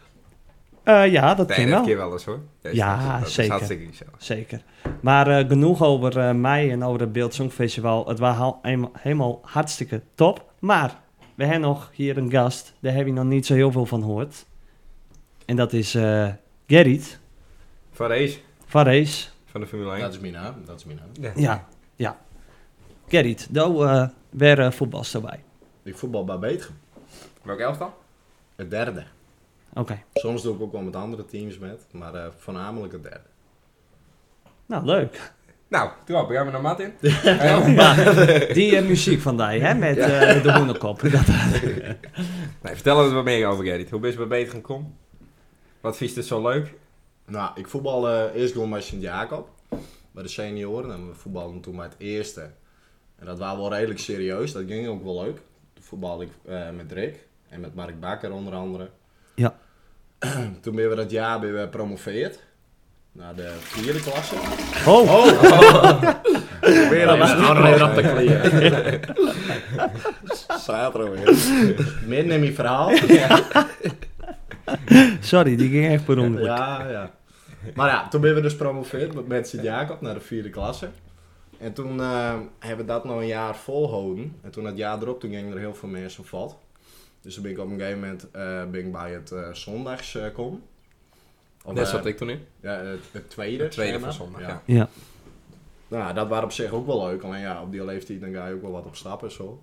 Eh, ja, dat Nee, kan dat wel. keer wel eens hoor. Deze- Ja, dat is zeker. hartstikke gezellig. Zeker. Maar eh, genoeg over eh, mij en over het Beeld Songfestival. Het was al eenma- helemaal hartstikke top. Maar we hebben nog hier een gast. Daar heb je nog niet zo heel veel van gehoord. En dat is eh Gerrit Van Race, van Rees. van de Formule 1. Dat is mijn naam, dat is mijn naam. Ja, ja. Gerrit, daar eh weer eh, voetbalster bij. Ik voetbal bij Beethoven. Welk elftal? Het derde. Oké. Soms doe ik ook wel met andere teams met, maar eh, voornamelijk het derde. Nou, leuk. Nou, Trap, gaan we naar Martin? Eh, Die eh, muziek van die, hè, met eh, de hoenekop. Dat- Nee, vertel ons wat meer over Gerrit. Hoe ben je bij beter gekomen? Wat vies het zo leuk? Nou, ik voetbal eh, eerst gewoon bij Sint-Jacob, bij de senioren. En we voetbalden toen bij het eerste. En dat waren wel redelijk serieus, dat ging ook wel leuk. Toen voetbalde ik eh, met Rick en met Mark Bakker onder andere. Ja. toen ben we dat jaar ben we promoveerd naar de vierde klasse. Oh, Weer dat was niet andere op de kleren. Zaterdag weer. Midden in mijn verhaal. sorry, die ging echt per ongeluk. Ja, ja. Maar ja, toen ben we dus promoveerd met- met Sint-Jacob naar de vierde klasse. En toen eh, hebben we dat nog een jaar volhouden. En toen dat jaar erop, toen gingen er heel veel mensen vat. Dus toen ben ik op een gegeven moment eh, ben ik bij het eh, zondags eh, kom. Of, Net eh, zat ik toen in. Ja, het, het tweede. Het tweede zeg van maar. zondag, ja. Ja. Nou, ja, dat waren op zich ook wel leuk. Alleen ja, op die leeftijd dan ga je ook wel wat op stappen en zo.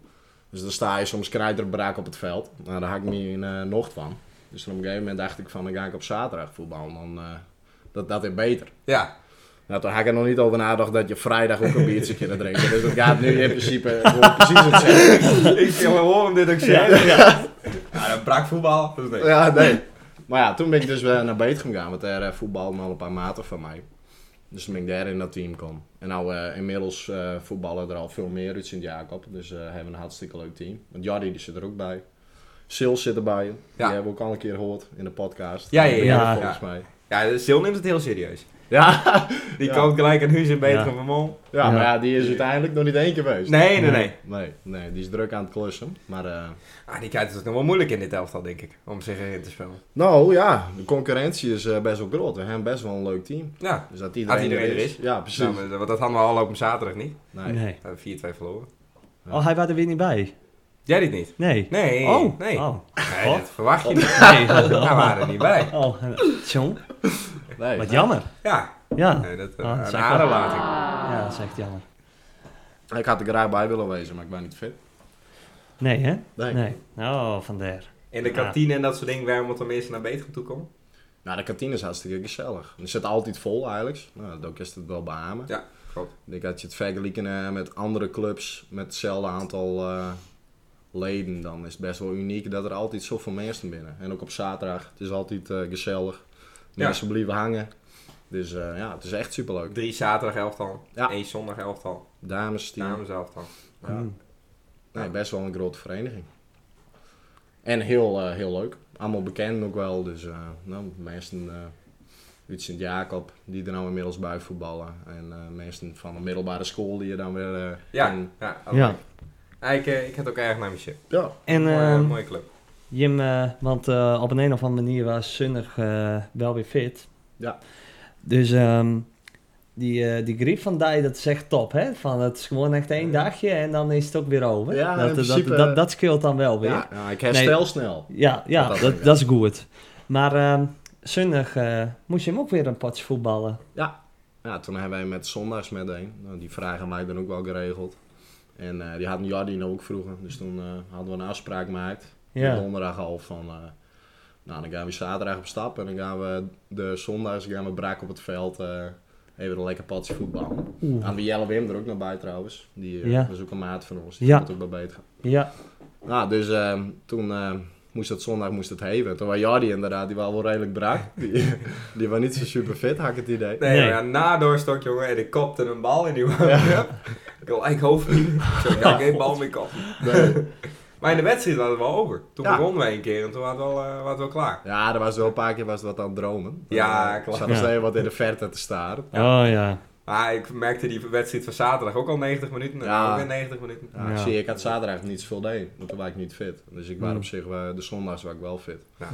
Dus dan sta je soms braak op het veld. Nou, daar had ik me in eh nocht van. Dus dan op een gegeven moment dacht ik van, dan ga ik op zaterdag voetballen. Dan, eh, dat, dat is beter. Ja, Nou, daar had ik er nog niet over nagedacht dat je vrijdag ook een biertje kunnen drinken. Dus dat gaat nu in principe eh, gewoon precies hetzelfde. Ik wil horen dit ook zeggen. Ja, dat brak voetbal. Dus nee. Ja, nee. Maar ja, toen ben ik dus eh, naar Betum gegaan, want daar eh, voetbalden al een paar maten van mij. Dus toen ben ik daar in dat team kwam. En nou, eh, inmiddels eh, voetballen er al veel meer uit Sint-Jacob. Dus eh, hebben een hartstikke leuk team. Want Jardi die zit er ook bij. Sil zit erbij. Die hebben we ook al een keer gehoord in de podcast. Ja, ja, ja, ja. Volgens mij. Ja, Sil neemt het heel serieus. Ja, Die Ja. koopt gelijk een huis in Beter Ja. van Mol. ja, maar ja, die is uiteindelijk nog niet één keer geweest. Nee, nee, nee. Nee, nee, die is druk aan het klussen. Maar, eh, Ah, die kijkt het nog wel moeilijk in dit elftal, denk ik. Om zich erin te spelen. nou ja, de concurrentie is eh, best wel groot. We hebben best wel een leuk team. Ja. Dus dat iedereen, iedereen er er is. is. Ja, precies. Nou, maar- want dat hadden we al op zaterdag niet. nee. Nee. We hebben 4-2 verloren. Oh, hij was er weer niet bij. Jij dit niet? Nee. Nee. Oh. Nee. Oh. Nee, Wat? dat verwacht je niet. Nee. Daar waren er niet bij. Oh, eh, tjong. Nee. Wat jammer. Ja. Ja. Nee, dat, eh, Ah, dat is een echt aderlating. Ja, dat is echt jammer. Ik had er graag bij willen wezen, maar ik ben niet fit. Nee, hè? Nee. Nee. Oh, vandaar. In de kantine en dat soort dingen, waar moet er mensen naar Beter toe komen? Nou, de kantine is hartstikke gezellig. Er zit altijd vol eigenlijk. Nou, ook is het wel beamen. Ja, klopt. Ik denk dat je het vergelijken eh, met andere clubs met hetzelfde aantal eh, leden, dan is het best wel uniek dat er altijd zoveel mensen binnen. En ook op zaterdag, het is altijd eh, gezellig. Ja. Mensen blijven hangen. Dus eh, ja, het is echt superleuk. Drie zaterdag elftal, Ja. één zondag elftal, Dames, team. dames elftal. Ja. Mm. Nee, best wel een grote vereniging. En heel, eh, heel leuk. Allemaal bekend ook wel. Dus eh, nou, mensen eh uit Sint-Jacob die er nou inmiddels bij voetballen. En eh, mensen van de middelbare school die je dan weer... eh, Ja, kan- ja. ook Ja. leuk. Ah, ik, eh, ik had ook erg naar mijn shit. ja. En mooie, eh, ehm, mooie club. Jim, eh, want eh, op een, een of andere manier was Sunnig eh, wel weer fit. Ja. Dus ehm, die, eh, die griep van Dai, dat is echt top, hè? Van, het is gewoon echt één dagje en dan is het ook weer over. Ja, dat, in dat, principe- eh, dat, dat, dat scheelt dan wel weer. Ja, ja, ik herstel Nee. snel. Ja, ja Dat dat, dan weer. dat, is goed. Maar ehm zondag eh, moest je hem ook weer een potje voetballen. Ja, toen hebben wij met zondags met een. Nou, die vragen mij dan ook wel geregeld. En eh, die had Jardine ook vroeger. Dus toen eh, hadden we een afspraak gemaakt. Ja. Donderdag al van... eh, nou, dan gaan we zaterdag op stap. En dan gaan we de zondags gaan we brak op het veld. eh, even een lekker patje voetballen. Oeh. Aan we Jelle Wim er ook nog bij trouwens. Die eh Ja. dat is ook een maat van ons. Die Ja. komt ook bij beter. Ja, Nou, dus eh, toen eh, moest het zondag moest het heven. Toen was Jardi inderdaad, die was wel redelijk brak. Die, die was niet zo super fit, had ik het idee. Nee, nee. ja, na doorstok, jongen, en ik kopte een bal in die Ik wil eigenlijk hoofdpijn. Zo, ik kan geen bal meer koppen. Nee. Maar in de wedstrijd was het wel over. Toen Ja. begonnen we een keer en toen waren we wel, eh, waren we wel klaar. Ja, er was wel een paar keer was wat aan het dromen. Ja, Eh, klopt. Zat nog Ja. steeds wat in de verte te staren. oh ja. Maar ik merkte die wedstrijd van zaterdag ook al 90 minuten en Ja. dan ook weer 90 minuten. Ja, Ja. Ah, Zie, je, ik had zaterdag niet zoveel deen, want toen was ik niet fit. Dus ik was Hmm. op zich, eh, de zondags was ik wel fit. ja.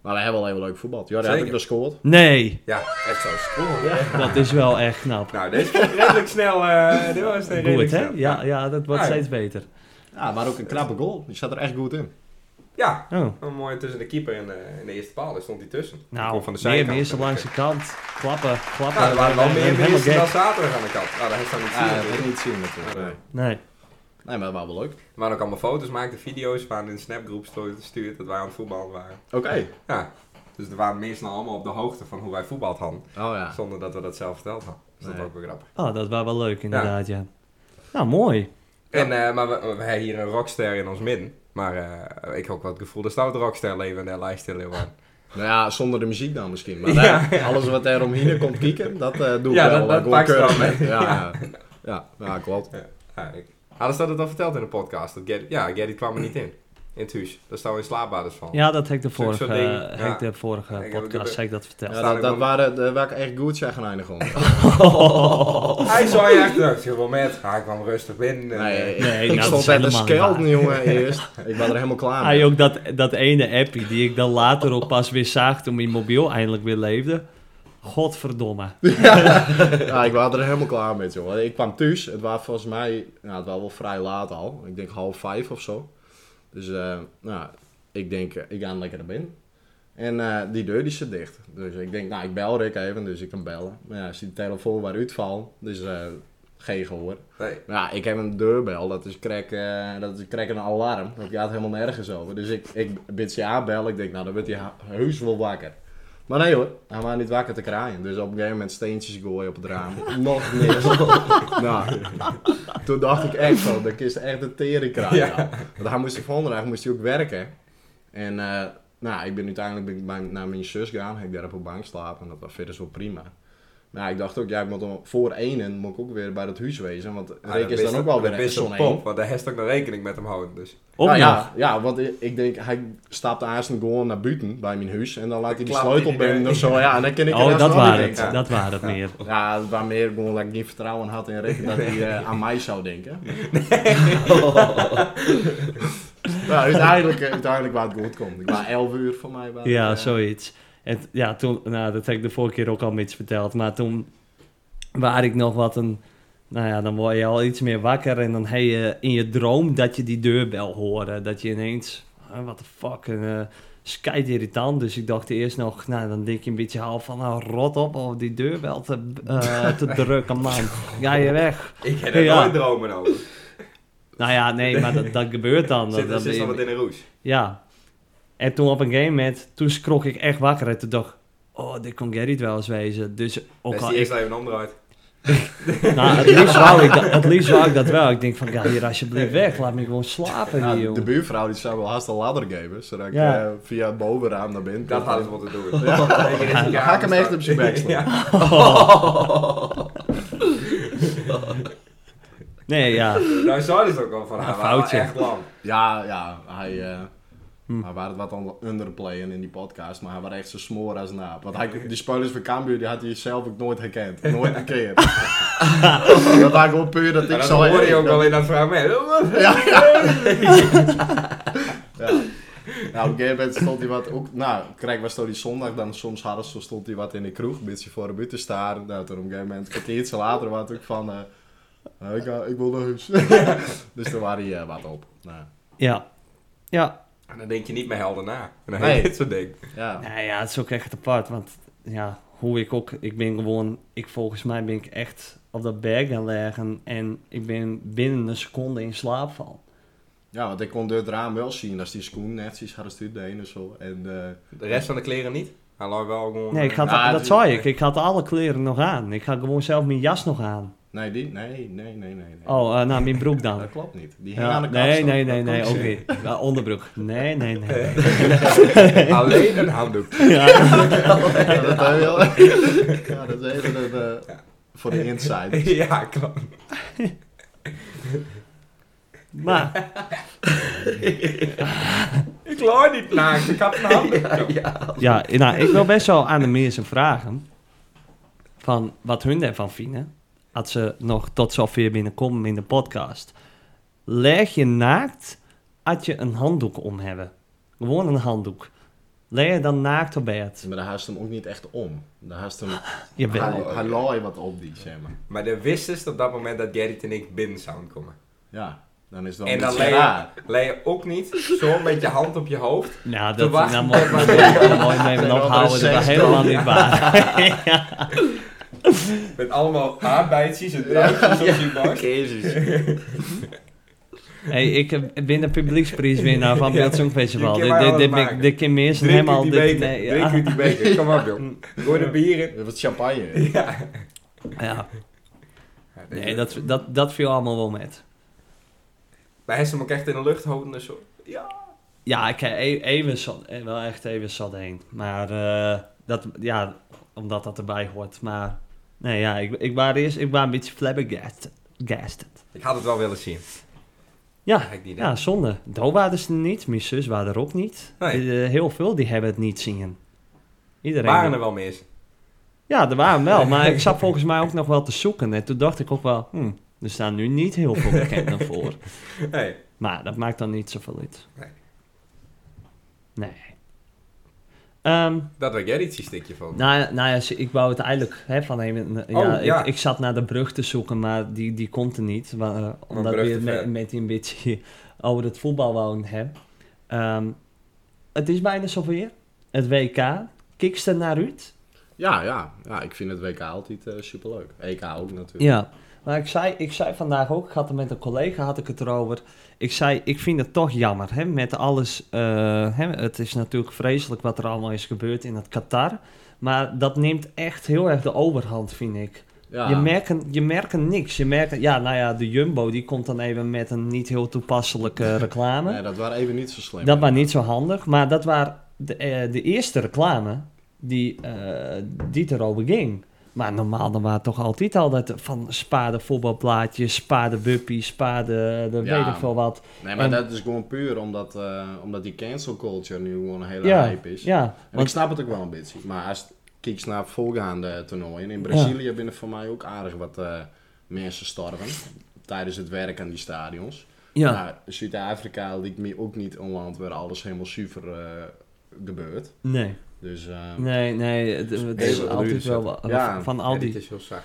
Maar we hebben wel heel leuk voetbal. Jordi had Zeker. ook gescoord. Nee, Ja, echt zo school. dat is wel echt knap. Nou, deze ging redelijk snel. eh dit was redelijk Goed, hè? snel. Ja, ja, dat wordt Ah, ja. steeds beter. Ja, maar ook een knappe goal. Die zat er echt goed in. Ja, Oh. een mooie tussen de keeper en, eh, en de eerste paal. Daar stond hij tussen. Die Nou, kwam van de meer zijkant. mensen En, langs de eh, kant. Klappen, klappen. Ja, er waren wel Ik ben meer helemaal mensen dan gek. zaterdag aan de kant. Nou, dat heeft hij niet Ja, dat zien. heb ik natuurlijk. niet zien natuurlijk. Nee, Nee. Nee, maar dat was wel leuk. Er waren ook allemaal foto's maakten, video's, waren in de snapgroep sto- gestuurd dat wij aan het voetballen waren. Oké. Ja, dus er waren mensen allemaal op de hoogte van hoe wij voetbald hadden, Oh ja. zonder dat we dat zelf verteld hadden. Dus dat Nee. was ook weer grappig. Oh, dat was wel leuk inderdaad, ja. Nou, mooi. En, eh, maar we, we hebben hier een rockster in ons midden. Maar eh, ik heb ook wel het gevoel, er staat een rockster leven in de lijst in Leeuwarden. Nou ja, zonder de muziek dan misschien. Maar Ja, eh, alles wat er omheen komt kieken, dat eh, doe ik Ja, wel. eh, dat- dat gewoon pak je keurig wel mee. met. Ja, ja. ja. ja, klopt. Ja, ik... Hadden ze dat het al verteld in de podcast? Dat Gerrit, ja, Gerrit kwam er niet in. In het huis. Daar staan we in slaapbaders van. Ja, dat heb ik de Zo'n soort vorige, ding, eh, heb ik ja. de vorige Ik heb- ik heb- podcast heb ik dat verteld. Ja, Staan dat, ik dat wel- waren, daar waar ik echt goed zeggen aan gewoon. Hij zei echt, nou, het is wel met. Ja, ik kwam rustig binnen. en, eh, Nee, ik Nee, nou, dat stond is bij de helemaal skelden, niet Ah, jongen, eerst. Ik was er helemaal klaar Hij mee. ook dat, dat ene appie die ik dan later op pas weer zag toen mijn mobiel eindelijk weer leefde. Godverdomme. Ja, ik was er helemaal klaar mee, jongen. Ik kwam thuis, het was volgens mij, nou, het was wel vrij laat al. Ik denk half vijf of zo. Dus, eh, nou, ik denk, eh, ik ga lekker naar binnen. En eh, die deur die zit dicht. Dus ik denk, nou, ik bel Rick even, dus ik kan bellen. Maar ja, zie de telefoon waar uitvalt, dus eh, geen gehoor. nee. Nou, ik heb een deurbel, dat is krek, eh, dat is krek een alarm. Dat gaat helemaal nergens over. Dus ik, ik bid ze aanbellen, ik denk, nou, dan wordt hij ha- heus wel wakker. Maar nee hoor, hij was niet wakker te kraaien. Dus op een gegeven moment steentjes gooien op het raam. Nog meer. nou, toen dacht ik echt van, dat is echt een tering kraaien. Want hij moest volgende dag moest hij ook werken. En eh, nou, ik ben uiteindelijk ben ik bij- naar mijn zus gegaan. Heb ik daar op een bank slapen. En dat was verder zo prima. Maar ik dacht ook, ja, ik moet om- voor enen moet ik ook weer bij dat huis wezen. Want Ja, Rick dat is dan wist- ook wel dat weer echt wist zo'n op een. pop, want daar heeft ook nog rekening met hem houden. Dus Op Nou nog. ja, ja, want i- ik denk, hij stapt aanstaan gewoon naar buiten bij mijn huis. En dan laat hij die klapt sleutel hij die binnen weer of zo. Ja, en dan ken ik er Oh, dat alsnog waren niet het. tegen. Dat waren het meer. Ja, het was meer gewoon dat ik geen vertrouwen had in Rick dat hij eh, aan mij zou denken. nou, uiteindelijk, eh, uiteindelijk waar het goed komt. Ik was 11 uur voor mij. waar- Ja, eh, zoiets. En t- ja, toen, nou, dat heb ik de vorige keer ook al iets verteld. Maar toen waar ik nog wat een. Nou ja, dan word je al iets meer wakker. En dan heb je in je droom dat je die deurbel hoorde. Dat je ineens. Wat what the fuck. En, eh, is kei irritant. Dus ik dacht eerst nog. Nou, dan denk je een beetje half van. Nou, rot op. Of die deurbel te, eh, te drukken, man. Ga je weg. ik heb er Ja. nooit dromen over. Nou ja, nee, maar dat, dat gebeurt dan. Dat, Zit er dat zit ben nog je- wat in de roes. ja. En toen op een gegeven moment, toen schrok ik echt wakker en toen dacht ik, oh, dit kon Gerrit wel eens wezen. Dus ook Dus al die ik, eerst even omdraait. nou, het liefst wou ik, dat- het liefst wou ik dat wel. Ik denk van, ga hier alsjeblieft weg, laat me gewoon slapen ja, hier, de jongen. buurvrouw die zou wel haast een ladder geven, zodat ik Ja. eh, via het bovenraam naar binnen Dat kon. had ik moeten doen. Ja. Weet je, dit is Dan ga ik hem echt op zijn bek slaan. Ja. Nee, ja. Nou, zo is het ook wel van haar. Een maar wel foutje. Echt lang. Ja, ja, hij, eh Hm. hij was het wat aan underplayen in die podcast, maar hij was echt zo smoor als naap. Want hij, die spelers van Cambuur, die had hij zelf ook nooit herkend. Nooit een keer. dat was gewoon puur dat ik En dat zo... hoorde je ook dat- wel in dat fragment. Ja, ja. ja. Nou, op een gegeven moment stond hij wat ook... Nou, kijk, was toch die zondag dan soms hadden ze, stond hij wat in de kroeg, een beetje voor de buurt te staren. Nou, toen op een gegeven moment, een kwartiertje later, was het ook van... eh, eh, ik, ga- ik wil naar huis. dus toen waren hij eh, wat op. Nou, Ja. Ja. En dan denk je niet meer helder na. En dan Nee. heb je dit soort dingen. ja. Nou ja, het is ook echt apart, want ja, hoe ik ook, ik ben gewoon, ik volgens mij ben ik echt op dat bed gaan leggen en ik ben binnen een seconde in slaap vallen. Ja, want ik kon door het raam wel zien als die schoen netjes hadden stuurd deen en zo. En eh, De rest van de kleren niet. Hij lag wel gewoon... Nee, ik had, Ja, dat het- zei ik, ik had alle kleren nog aan. Ik had gewoon zelf mijn jas nog aan. nee, die, nee, nee, nee, nee. nee. Oh, eh, nou, mijn broek dan. Dat klopt niet. Die hing Ja, aan de kast. nee, hoor. nee, Dat nee, kon nee, ik ook zien. niet. Ja, onderbroek. Nee, nee, nee. Alleen een handdoek. Ja, dat is heel... ja, dat is even een, eh, voor de inside. ja, klopt. Maar, Ik lag niet naakt. Ik had een handdoek. ja, nou, ik wil best wel aan de mensen vragen. Van wat hun ervan vinden. Als ze nog tot zover binnenkomen in de podcast. Leg je naakt als je een handdoek om hebben. Gewoon een handdoek. Leg je dan naakt op bed. Maar daar haast hem ook niet echt om. Daar haast hem... Jawel. Hij hij laai wat op die, zeg maar. Maar de wist is op dat moment dat Gerrit en ik binnen zouden komen. Ja, dan Oh, is dat en een dan beetje leer je, raar. lei je ook niet zo met je hand op je hoofd. Nou, Te dat wachten nou, mooi, mooi, mooi, mooi mee Zijn me wel ophouden. Dat was recessies helemaal niet waar. Met allemaal aardbeidjes en drankjes op je borst. Hey, ik heb- ben de publieksprijswinnaar van Ja. Beeld Songfestival. Je Dit kan mij dit- dit alles ben ik- maken. dit keer meer Drink uit helemaal... die dit- beker. nee, ja. Mm. Drink uit die beker. Kom op, joh. Gooi de bieren. Wat champagne. Ja. Ja, nee, dat, dat, dat viel allemaal wel met. Maar hij is hem ook echt in de lucht houden en zo. Ja, ik heb e- even zat, eh, wel echt even zat heen. Maar eh, dat, ja, omdat dat erbij hoort. Maar nee, ja, ik, ik was eerst ik was een beetje flabbergasted. Ik had het wel willen zien. Ja, Had ik niet ja, zonde. Do waren ze niet, mijn zus waren er ook niet. Nee. Eh, heel veel die hebben het niet zien. Iedereen. Waren er wel mensen. Ja, er waren wel, maar ik zat volgens mij ook nog wel te zoeken. En toen dacht ik ook wel, hm, er staan nu niet heel veel bekenden voor. Nee. Maar dat maakt dan niet zoveel uit. Nee. Nee. Ehm, Dat was Gerrit's stikje van. nou, nou ja, ik wou het eigenlijk hè, van even... Ja, Oh, ja. Ik, ik zat naar de brug te zoeken, maar die, die komt er niet. wa- eh, omdat brug we te het ver. met, met die een beetje over het voetbal wouden hebben. Ehm, het is bijna zover. Het WK. Kikst er naar uit? Ja, ja. Ja, ik vind het WK altijd eh, superleuk. EK E ook natuurlijk. Ja, Nou, ik zei, ik zei vandaag ook, ik had er met een collega had ik het erover. Ik zei, ik vind het toch jammer, hè, met alles. eh, hè, het is natuurlijk vreselijk wat er allemaal is gebeurd in het Qatar. Maar dat neemt echt heel erg de overhand, vind ik. Ja, Je, merken, je merken niks. Je merken, ja, nou ja, de Jumbo die komt dan even met een niet heel toepasselijke reclame. nee, dat waren even niet zo slim. Dat was niet zo handig, maar dat waren de, eh, de eerste reclame die, eh die het erover ging. Maar normaal dan waren het toch altijd al dat van spaarde voetbalplaatjes, spaarde buppie, spaarde de Ja. weet ik veel wat. Nee, maar En- dat is gewoon puur omdat, eh, omdat die cancel culture nu gewoon een hele ja, hype is. ja, En ik want snap het ook wel een beetje. Maar als ik kijk naar volgaande toernooien. In Brazilië binnen voor mij ook aardig wat eh, mensen sterven. Tijdens het werk aan die stadions. ja, Maar Zuid-Afrika lijkt me ook niet een land waar alles helemaal super eh, gebeurt. nee, Dus eh, nee, nee, het, het Heel is wat altijd ruzie wel wat- Ja. van Ja, al dit die, is heel zacht.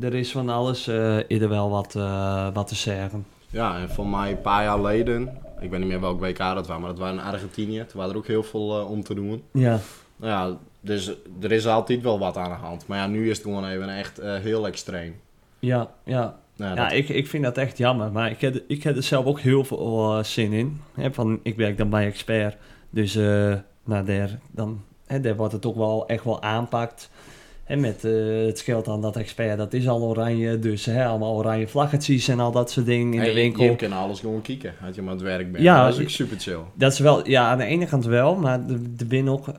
er is van alles eh eerder wel wat, eh, wat te zeggen. ja, en van mij een paar jaar geleden. Ik weet niet meer welk WK dat was, maar dat waren in Argentinië. Toen waren er ook heel veel eh, om te doen. Ja, Nou ja, dus er is altijd wel wat aan de hand. Maar ja, nu is het gewoon even echt eh, heel extreem. ja, ja. Nou, Ja, dat- ik, ik vind dat echt jammer, maar ik heb, ik heb er zelf ook heel veel eh, zin in. Hè, van, ik werk dan bij Expert, dus eh nou, daar, dan, hè, daar wordt het toch wel echt wel aanpakt. En met eh, het scheelt dan dat Expert, dat is al oranje, dus hè, allemaal oranje vlaggetjes en al dat soort dingen in en de je- winkel. Je, kan alles gewoon kieken, als je maar aan het werk bent. Ja, dat is je- ook super chill. Dat is wel, ja, aan de ene kant wel, maar de- er zijn ook eh,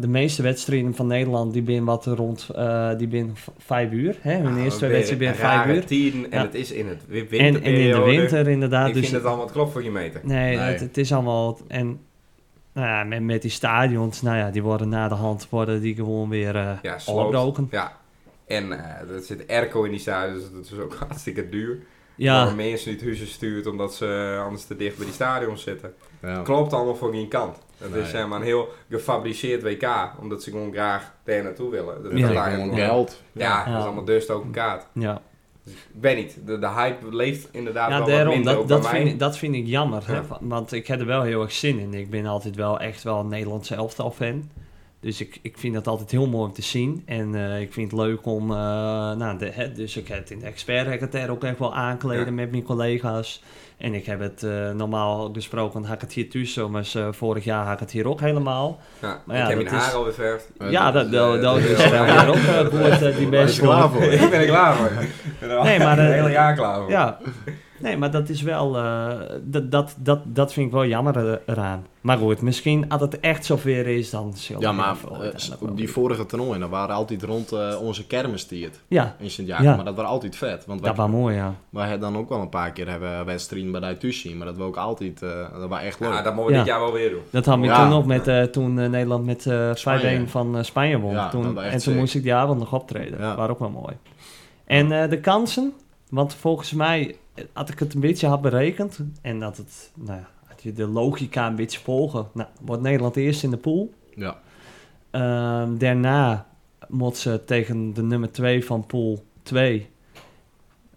de meeste wedstrijden van Nederland, die zijn wat rond, eh, die zijn v- vijf uur. Hè? Hun eerste Weer wedstrijd ben Ah, een vijf rare uur. tien en Ja. het is in het wi- En, en in de winterperiode. winter inderdaad. Ik dus vind het allemaal het klopt voor je meter. Nee, Nee. Het, het is allemaal. En nou ja, met, met die stadions, nou ja, die worden na de hand worden die gewoon weer eh Ja, sloopt. opbroken. Ja. En eh, er zit airco in die stadions, dus dat is ook hartstikke duur. Ja, Waarom mensen niet huizen stuurt omdat ze eh, anders te dicht bij die stadions zitten. Ja. Klopt allemaal voor geen kant. Het Nee. is zeg maar een heel gefabriceerd WK, omdat ze gewoon graag daar naartoe willen. Dat Ja. is Dat is daar gewoon helemaal- geld. Ja, dat Ja. is allemaal dus ook een kaart. ja. Ik weet niet, de, de hype leeft inderdaad ja wel wat daarom, minder dat, ook dat, bij vind, mij. ik- dat vind ik jammer. hè, Ja. van- want ik heb er wel heel erg zin in. Ik ben altijd wel echt wel een Nederlandse elftal fan. Dus ik, ik vind dat altijd heel mooi om te zien. En eh, ik vind het leuk om... eh, nou, de, hè, dus ik heb het in de expert heb ik het daar ook echt wel aankleden Ja. met mijn collega's. En ik heb het eh, normaal gesproken, had ik het hier tussen. Maar eh, vorig jaar had ik het hier ook helemaal. Ja, Maar ik ja, heb mijn dat is- haar al verfd. Ja, dat, dat, dat eh, is eh, wel weer op, eh, boert, eh, die Daar is best je klaar voor. Ik ben er klaar voor. Ik ben er al Nee, maar, eh, het hele jaar klaar voor. Ja. Nee, maar dat is wel... eh, dat, dat, dat, dat vind ik wel jammer eh, eraan. Maar goed, misschien als het echt zover is, dan... zullen Ja, we maar even eh, uiteindelijk wel op die weer- vorige toernooien, dat waren altijd rond eh, onze kermistiert Ja, in Sint-Jacob. Ja. Maar dat waren altijd vet. Want dat wij, was mooi, ja. wij hebben dan ook wel een paar keer hebben wedstrijden bij Daitushi. Maar dat we ook altijd, eh, dat was echt leuk. Ja, Ja, Ah, dat moeten we dit Ja. jaar wel weer doen. Dat hadden we Ja. toen nog met... eh, toen eh, Nederland met eh 5-1 Spanje. van eh, Spanje won. Ja, dat toen, was en echt toen sick. moest ik die avond nog optreden. Ja. Dat waren ook wel mooi. En eh, de kansen? Want volgens mij eh, had ik het een beetje had berekend. En dat het... Nou ja, had je de logica een beetje volgen. Nou, wordt Nederland eerst in de pool. Ehm, daarna moet ze tegen de nummer 2 van pool 2.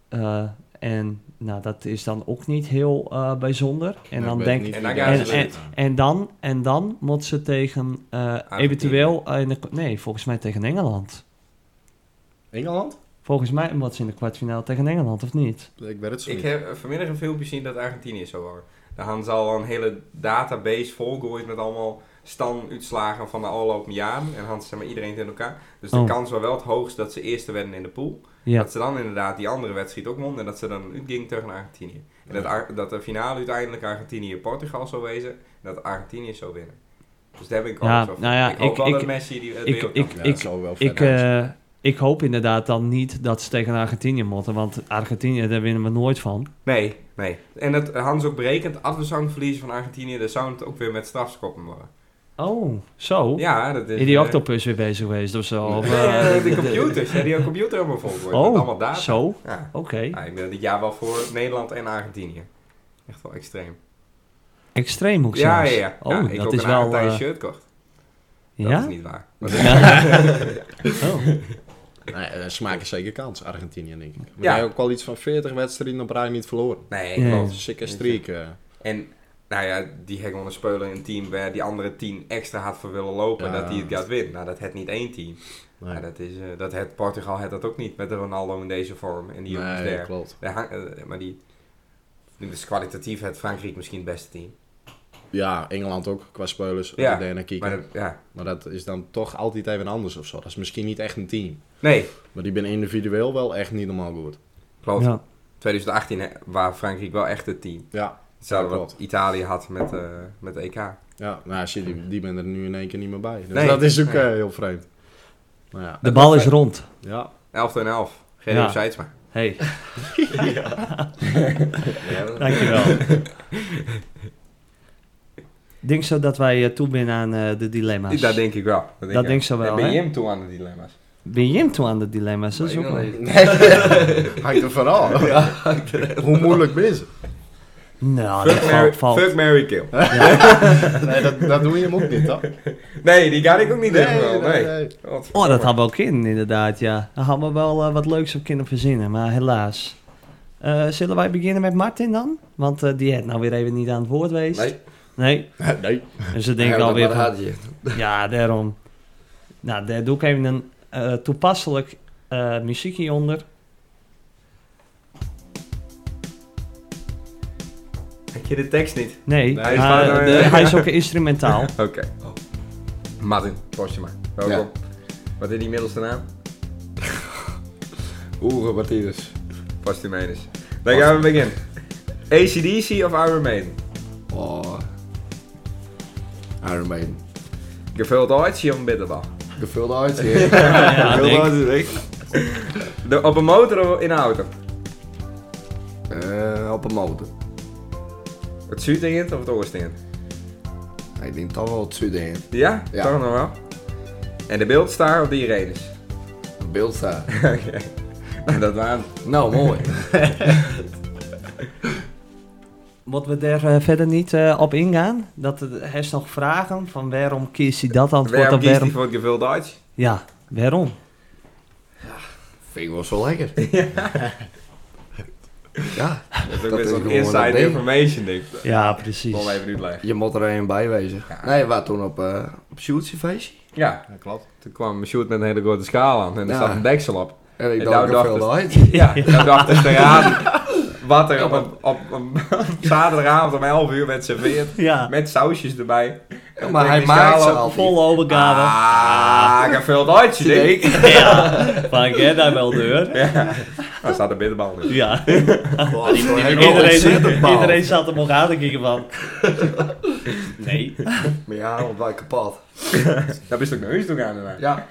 Eh, en nou, dat is dan ook niet heel eh, bijzonder. En Ik dan weet denk niet En wie dan daar gaan is. ze en, en dan, en dan moet ze tegen eh, Ah, eventueel... eh, in de, nee, volgens mij tegen Engeland. Engeland? Volgens mij moet ze in de kwartfinale tegen Engeland, of niet? Ik weet het zo Ik niet. heb eh, vanmiddag een filmpje zien dat Argentinië zo waren. Daar hadden ze al een hele database volgooid met allemaal standuitslagen van de afgelopen jaren. En hadden ze zeg maar iedereen in elkaar. Dus de Oh. kans was wel het hoogst dat ze eerste werden in de pool. Ja, Dat ze dan inderdaad die andere wedstrijd ook won en dat ze dan uitging tegen Argentinië. En dat, Ar- dat de finale uiteindelijk Argentinië-Portugal zou wezen en dat Argentinië zou winnen. Dus daar ben ik wel Ja, zo van. nou ja, ik hoop ik- wel ik- dat Messi die, het ik- wereldkampioen ik- Ja, ik- dat zou wel vet ik, zijn. eh, ik hoop inderdaad dan niet dat ze tegen Argentinië moeten. Want Argentinië, daar winnen we nooit van. Nee, nee. En dat eh, Hans ook berekent, als we zouden verliezen van Argentinië, dan zou het ook weer met strafskoppen worden. Oh, zo. Ja, dat is... Is die eh, octopus weer bezig geweest of zo? Of, Nee, eh, eh, de computers, hè, die hebben computer helemaal vol wordt. met allemaal oh, data. zo? Oké. Ja. Ja, ik ben dit jaar wel voor Nederland en Argentinië. Echt wel extreem. Extreem ook Ja, zelfs. ja, ja. Oh, Ja, ik dat ook is een wel... Argentijn eh, shirt kocht. Dat is ja? niet waar. Oh. Nee, eh, ze maken zeker kans, Argentinië, denk ik. Maar Ja. jij ook wel iets van 40 wedstrijden op rij niet verloren. Nee, Nee. klopt. Sikke streak. eh. En nou ja, die hek een speler in een team waar die andere tien extra hard voor willen lopen. Ja. Dat die het gaat winnen. Nou, dat het niet één team. Nee, Ja, dat is, eh, dat het Portugal had dat ook niet met Ronaldo in deze vorm. En die jongens nee, daar. klopt. Daar hang- eh, maar die, dus kwalitatief het Frankrijk misschien het beste team. Ja, Engeland ook qua spelers. Ja, Ja, daarna kijken. Maar Maar, dat- ja. dat is dan toch altijd even anders of zo. Dat is misschien niet echt een team. Nee, Maar die ben individueel wel echt niet normaal goed. klopt. Ja. 2018 hè, waar Frankrijk wel echt het team. Ja, Hetzelfde Ja, wat klopt. Italië had met, eh, met de EK. ja nou, shit, die, die ben er nu in één keer niet meer bij. Dus Nee. dat is ook Nee. eh, heel vreemd. Maar ja, De bal is rond. ja. 11 en 11. Geen Ja. ja. maar. Hey, Ja, dat- dankjewel. Ik denk zo dat wij eh, toe zijn aan eh, de dilemma's. Dat denk ik wel. Dat denk, Dat ik. denk ze Dan wel, ben hè? je hem toe aan de dilemma's? Ben je hem toe aan de dilemma's? Dat is Weet ook ik nog wel- niet. Hangt er vooral. Hoe moeilijk is het? Nou, dat Fuck, valt. Mary, valt. fuck Mary Kill. Nee, dat, dat doe je hem ook niet, toch? Nee, die ga ik ook niet nee, nee. nee. Wat- Oh, dat hadden we ook in, inderdaad, ja. Daar hadden we wel eh, wat leuks op kunnen verzinnen, maar helaas. Eh, zullen wij beginnen met Martin dan? Want eh, die had nou weer even niet aan het woord geweest. Nee. Nee, Nee. dus dan denk ik Ja, dat alweer maar van, had je. Ja, daarom. Nou, daar doe ik even een eh, toepasselijk eh, muziekje onder. Ik ken de tekst niet. Nee, Nee, maar is waar, de- nee. hij is ook instrumentaal. Oké. Oh. Martin, post maar. Welkom. Wat is die middelste naam? Oeh, wat hier is. Post je menus. Dan gaan we beginnen. ACDC of Iron Maiden? Oh. Iron Maiden. Gevuld ooit of een bitterbal? Gevuld uit hier. Ja, ja, denk- De, op een motor of in een auto? Eh, op een motor. Het zuurtingend of het oorstingend? Ik denk toch wel het zuiden heen. Ja? Ja. Toch nog wel? En de beeldstaar of de Irenes? Beeld staat. Oké. Nou, dat waren Nou, mooi. Moeten we daar eh, verder niet eh, op ingaan? Dat eh, hij is nog vragen van waarom kiest hij dat antwoord Waarom op kiest hij waarom... voor het gevuld Duits? Ja, waarom? Vind ik wel zo lekker. Ja. Dat is ook Dat weer is zo'n gewoon een inside ding. information ding. Ja, precies. Kom even nu blijven. Je moet er een bij wezen. Ja. Nee, we waren toen op, eh op shootsiefeestje. Ja, Ja, klopt. toen kwam Sjoerd met een hele grote schaal aan en er Ja. zat een deksel op. En ik En dacht, nou ik dacht veel het- uit. Ja, dan dacht ik eraan wat er op, een- op, een zaterdagavond om 11 uur werd serveerd. Ja, Met sausjes erbij. En maar ik hij die maakt schaal ze open. al. vol overgave. Ah, gevuld uitje, denk ik. Ja, van ken daar wel deur. Ja, daar staat een bitterbal dus. in. Ja, Goh, die wil ik wel iedereen, ontzettend balen. iedereen zat hem nog aan te kijken van... Nee. Maar ja, want wij kapot. Dat is toch naar huis toe gaan daarna. Ja.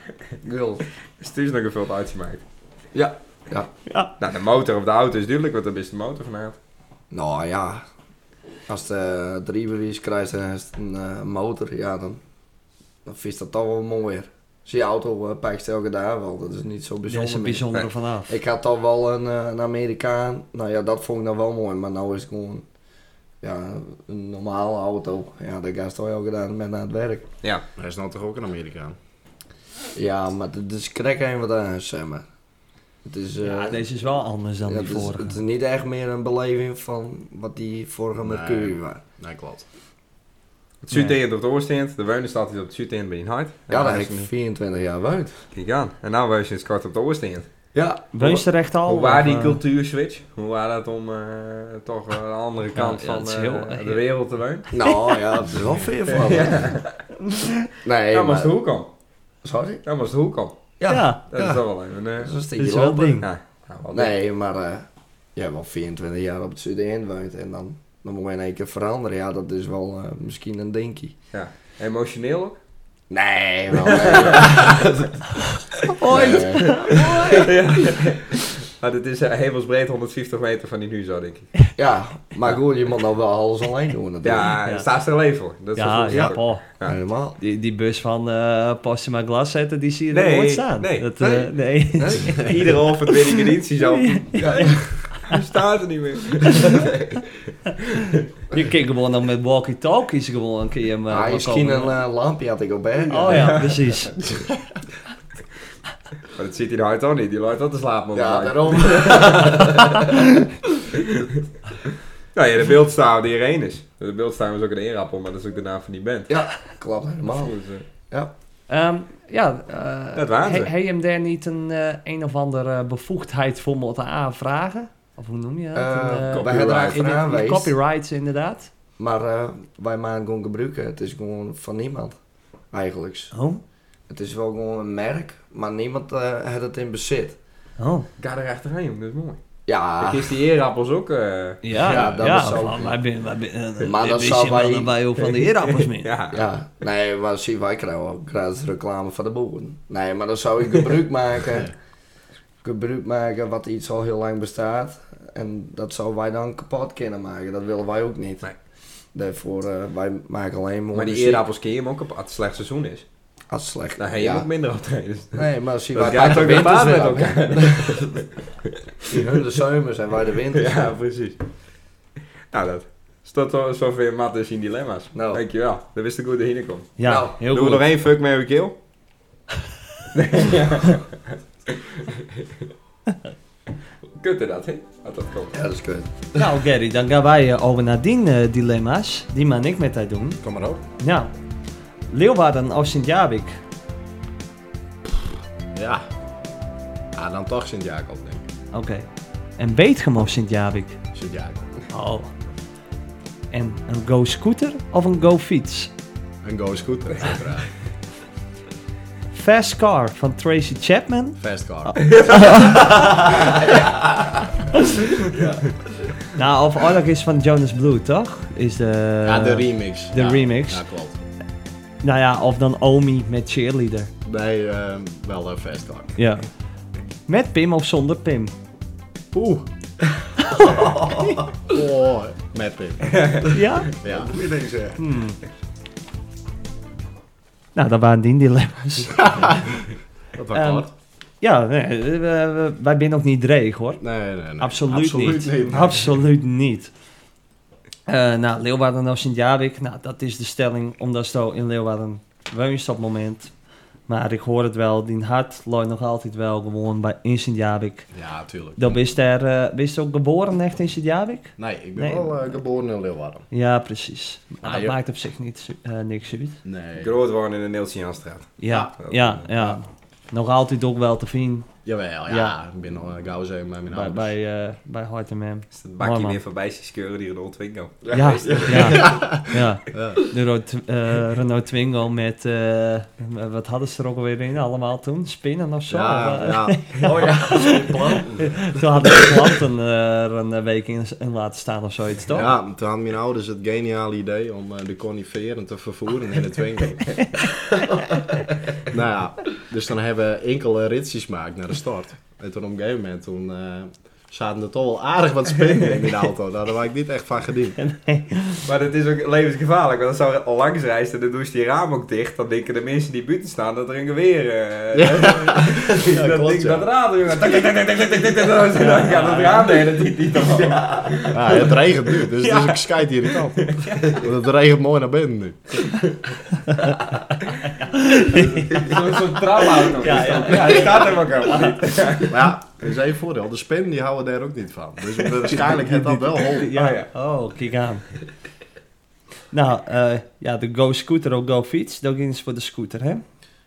Gul. Dus het is nog gevuld uitje maakt. Ja. Ja. Nou, de motor of de auto is duidelijk, want dat is de motor vanuit. Nou ja. Als de uh, driebewijs krijgt en is het een eh, motor, ja dan, dan vies dat toch wel mooier. Zie je auto uh, pijkst elke dag wel, dat is niet zo Daar is bijzonder. een meer. bijzondere vanaf. Ik had toch wel een, eh, een Amerikaan. Nou ja, dat vond ik dan wel mooi. Maar nou is het gewoon ja, een normale auto. Ja, daar ga je toch elke dag met naar het werk. Ja, Hij is nou toch ook een Amerikaan? Ja, maar het is krek heen wat aan, zeg maar. Het is, eh, Ja, deze is wel eh. anders dan ja, die het, is, vorige. het is niet echt meer een beleving van wat die vorige Nee. Mercury was. Nee, klopt. het zuurteend of het oorsteend. De weunen staat hier op het zuurteend bij je hart. Ja, daar heb ik is nu. 24 jaar woont. Kijk aan. En nou was je eens kort op de oorsteend. Ja, Weunsterecht al? Hoe waar of, die eh, cultuurswitch? Hoe waar dat om eh, toch aan de andere kant ja, van het is eh, heel- de wereld te wonen? nou ja, dat is wel veel van. Nee, dat was maar... de hoek om. Sorry? Dat was de hoek om. Ja, eh, Ja, Dat Ja. is toch wel even. dat eh, is een dat is stukje wel een lopen. ding. ja, nou, wel Nee, maar eh je hebt al 24 jaar op het studeren woont en dan, dan moet je in één keer veranderen. Ja, dat is wel eh, misschien een dinkie. leuk. Emotioneel ook? Nee, wel nee. Ooit. Maar dit is eh, hemelsbreed 150 meter van die nu zo, denk ik. Ja, maar goed, je moet nou wel alles alleen doen natuurlijk. Ja, Ja. daar staat ze er leven voor. Dat is ja, wel- ja, Paul. Ja. Helemaal. Die, die bus van eh Post in mijn glas zetten, die zie je er Nee, nooit staan. nee, dat, eh, nee. nee. Iedere ochtend win ik editie zo. Hij staat er niet meer. Je kan gewoon dan met walkie-talkies gewoon een keer... hem, eh, Ah, wel misschien een komen. eh, lampje had ik op hè? Oh ja, precies. Maar dat ziet hij nou toch niet. Die loopt al te slapen. Ja, Ja, daarom. Nou ja, de beeldstaaf die er één is. De beeldstaaf is ook een eerappel, maar dat is ook de naam van die band. Klopt helemaal. Dus, eh, Ehm, ja, eh, Dat waren ze. he- Heb je hem daar niet een, eh, een of andere bevoegdheid voor moeten aanvragen? Of hoe noem je dat? Eh, Een, eh, wij hebben er in de- in achteraan de geweest, copyrights inderdaad. maar eh, wij maken gewoon gebruiken. Het is gewoon van niemand, eigenlijk. Oh, Het is wel gewoon een merk, maar niemand eh heeft het in bezit. oh. Ga er achteraan, jongen, dat is mooi. Ja, Ik is die eerappels ook. eh, Ja, Ja, ja, dat is ook- van, wij ben, wij ben, eh, Maar eh, dat wist zou je wel wij- dat wij ook van de heerappels mee. ja. ja. Nee, maar zie, wij krijgen ook gratis reclame van de boeren. Nee, maar dan zou ik gebruik maken. Gebruik maken wat iets al heel lang bestaat. En dat zouden wij dan kapot kunnen maken. Dat willen wij ook niet. Nee. Daarvoor, eh, wij maken alleen maar Maar die muziek eerappels keer je hem ook op als het slecht seizoen is. als het slecht. Dan heb je ja. ook minder dus- optredens. Nee, maar zie, Dat wij gaat pakken ook de winters baat weer met aan. elkaar. Die hun de zomers en wij de winters. Ja, precies. Nou, dat. Is dat zo- zover Matt is in dilemma's? Nou. Dankjewel. Dat wist ik hoe de heen komt. Ja, Nou, heel Doen goed. we nog één fuck, Mary Kill? Kutte dat, hè? Had dat komt. Ja, dat is kut. Nou Gary, dan gaan wij eh, over naar die eh, dilemma's. Die man ik met haar doen. Kom maar op. Nou, Leeuwarden of Sint-Jabik? Ja. Ja, dan toch Sint-Jacob, denk ik. Oké. En Beetgem of Sint-Jabik? Sint-Jacob. Oh. En een go-scooter of een go-fiets? Een go scooter, uiteraard. Fast Car van Tracy Chapman? Fast car. Ah, eh, Nou, of Orlok is van Jonas Blue, toch? Is de... ja, de remix. de ja. remix. Ja, klopt. Nou ja, of dan Omi met Cheerleader. Nee, eh, wel een fast car. Ja. Met Pim of zonder Pim? Oeh. oh, met Pim. Ja? Ja. Hmm. Nou, dat waren die dilemma's. Dat was Ehm, hard. ja, nee, we- we- wij zijn nog niet dreig hoor. Nee, nee, nee. Absoluut, niet. Nou, nee, nee. Absoluut niet. Eh, nou, Leeuwarden of Sint-Jarik, nou, dat is de stelling, omdat zo in Leeuwarden woonst op het moment. Maar ik hoor het wel, die hart loopt nog altijd wel gewoon bij, in Sint-Jarik. Ja, tuurlijk. Dan wist er, eh, wist je ook geboren echt in Sint-Jarik? Nee, ik ben Nee. wel eh, geboren in Leeuwarden. Ja, precies. Maar Ah, dat ja. maakt op zich niet, eh, niks uit. Nee. Groot worden in de Neeltje-Janstraat. Ja, Ja. ja, ja. Nog altijd ook wel te vinden Jawel, ja. Ja. Ik ben nog een gauw zeven bij mijn bij, ouders. bij, eh bij Hart en Mem. Is het Mooi, bakje man. weer voorbij zien scheuren die Renault Twingo. Ja, ja, ja. Ja. De Ro- tw- eh, Renault Twingo met, eh, wat hadden ze er ook alweer in allemaal toen? Spinnen of zo? Ja, Of, eh, ja. Oh ja, planten. Toen hadden ze planten eh, er een week in, in laten staan of zoiets, toch? Ja, toen hadden mijn ouders het geniale idee om eh, de coniferen te vervoeren in de Twingo. nou ja, dus dan hebben we enkele ritsjes gemaakt naar de start. En toen op een gegeven moment toen, eh, zaten er toch wel aardig wat spinnen in die auto. Nou, Daar had ik niet echt van gediend. Maar dat is ook levensgevaarlijk, want als zou langs reist en dan doe je die raam ook dicht, dan denken de mensen die buiten staan dat er een geweer... eh Ja. Ja, dat klopt, ding, ja. dat raam, jongen. Tik, tik, tik, tik, tik, tik, tik, tik. Dan gaat het raam de hele tijd niet op. Ja, het regent nu, dus het is ook schijt irritant. Want het regent mooi naar binnen nu. Zo'n zo'n tramauto. Ja, ja, ja. Die staat er ook helemaal niet. Maar ja, er is één voordeel. De spinnen die houden daar ook niet van. Dus waarschijnlijk heeft dat wel hol. Ja. Ah, ja. Oh, kijk aan. nou, eh, ja, de Go Scooter of Go Fiets, dat ging voor de scooter, hè?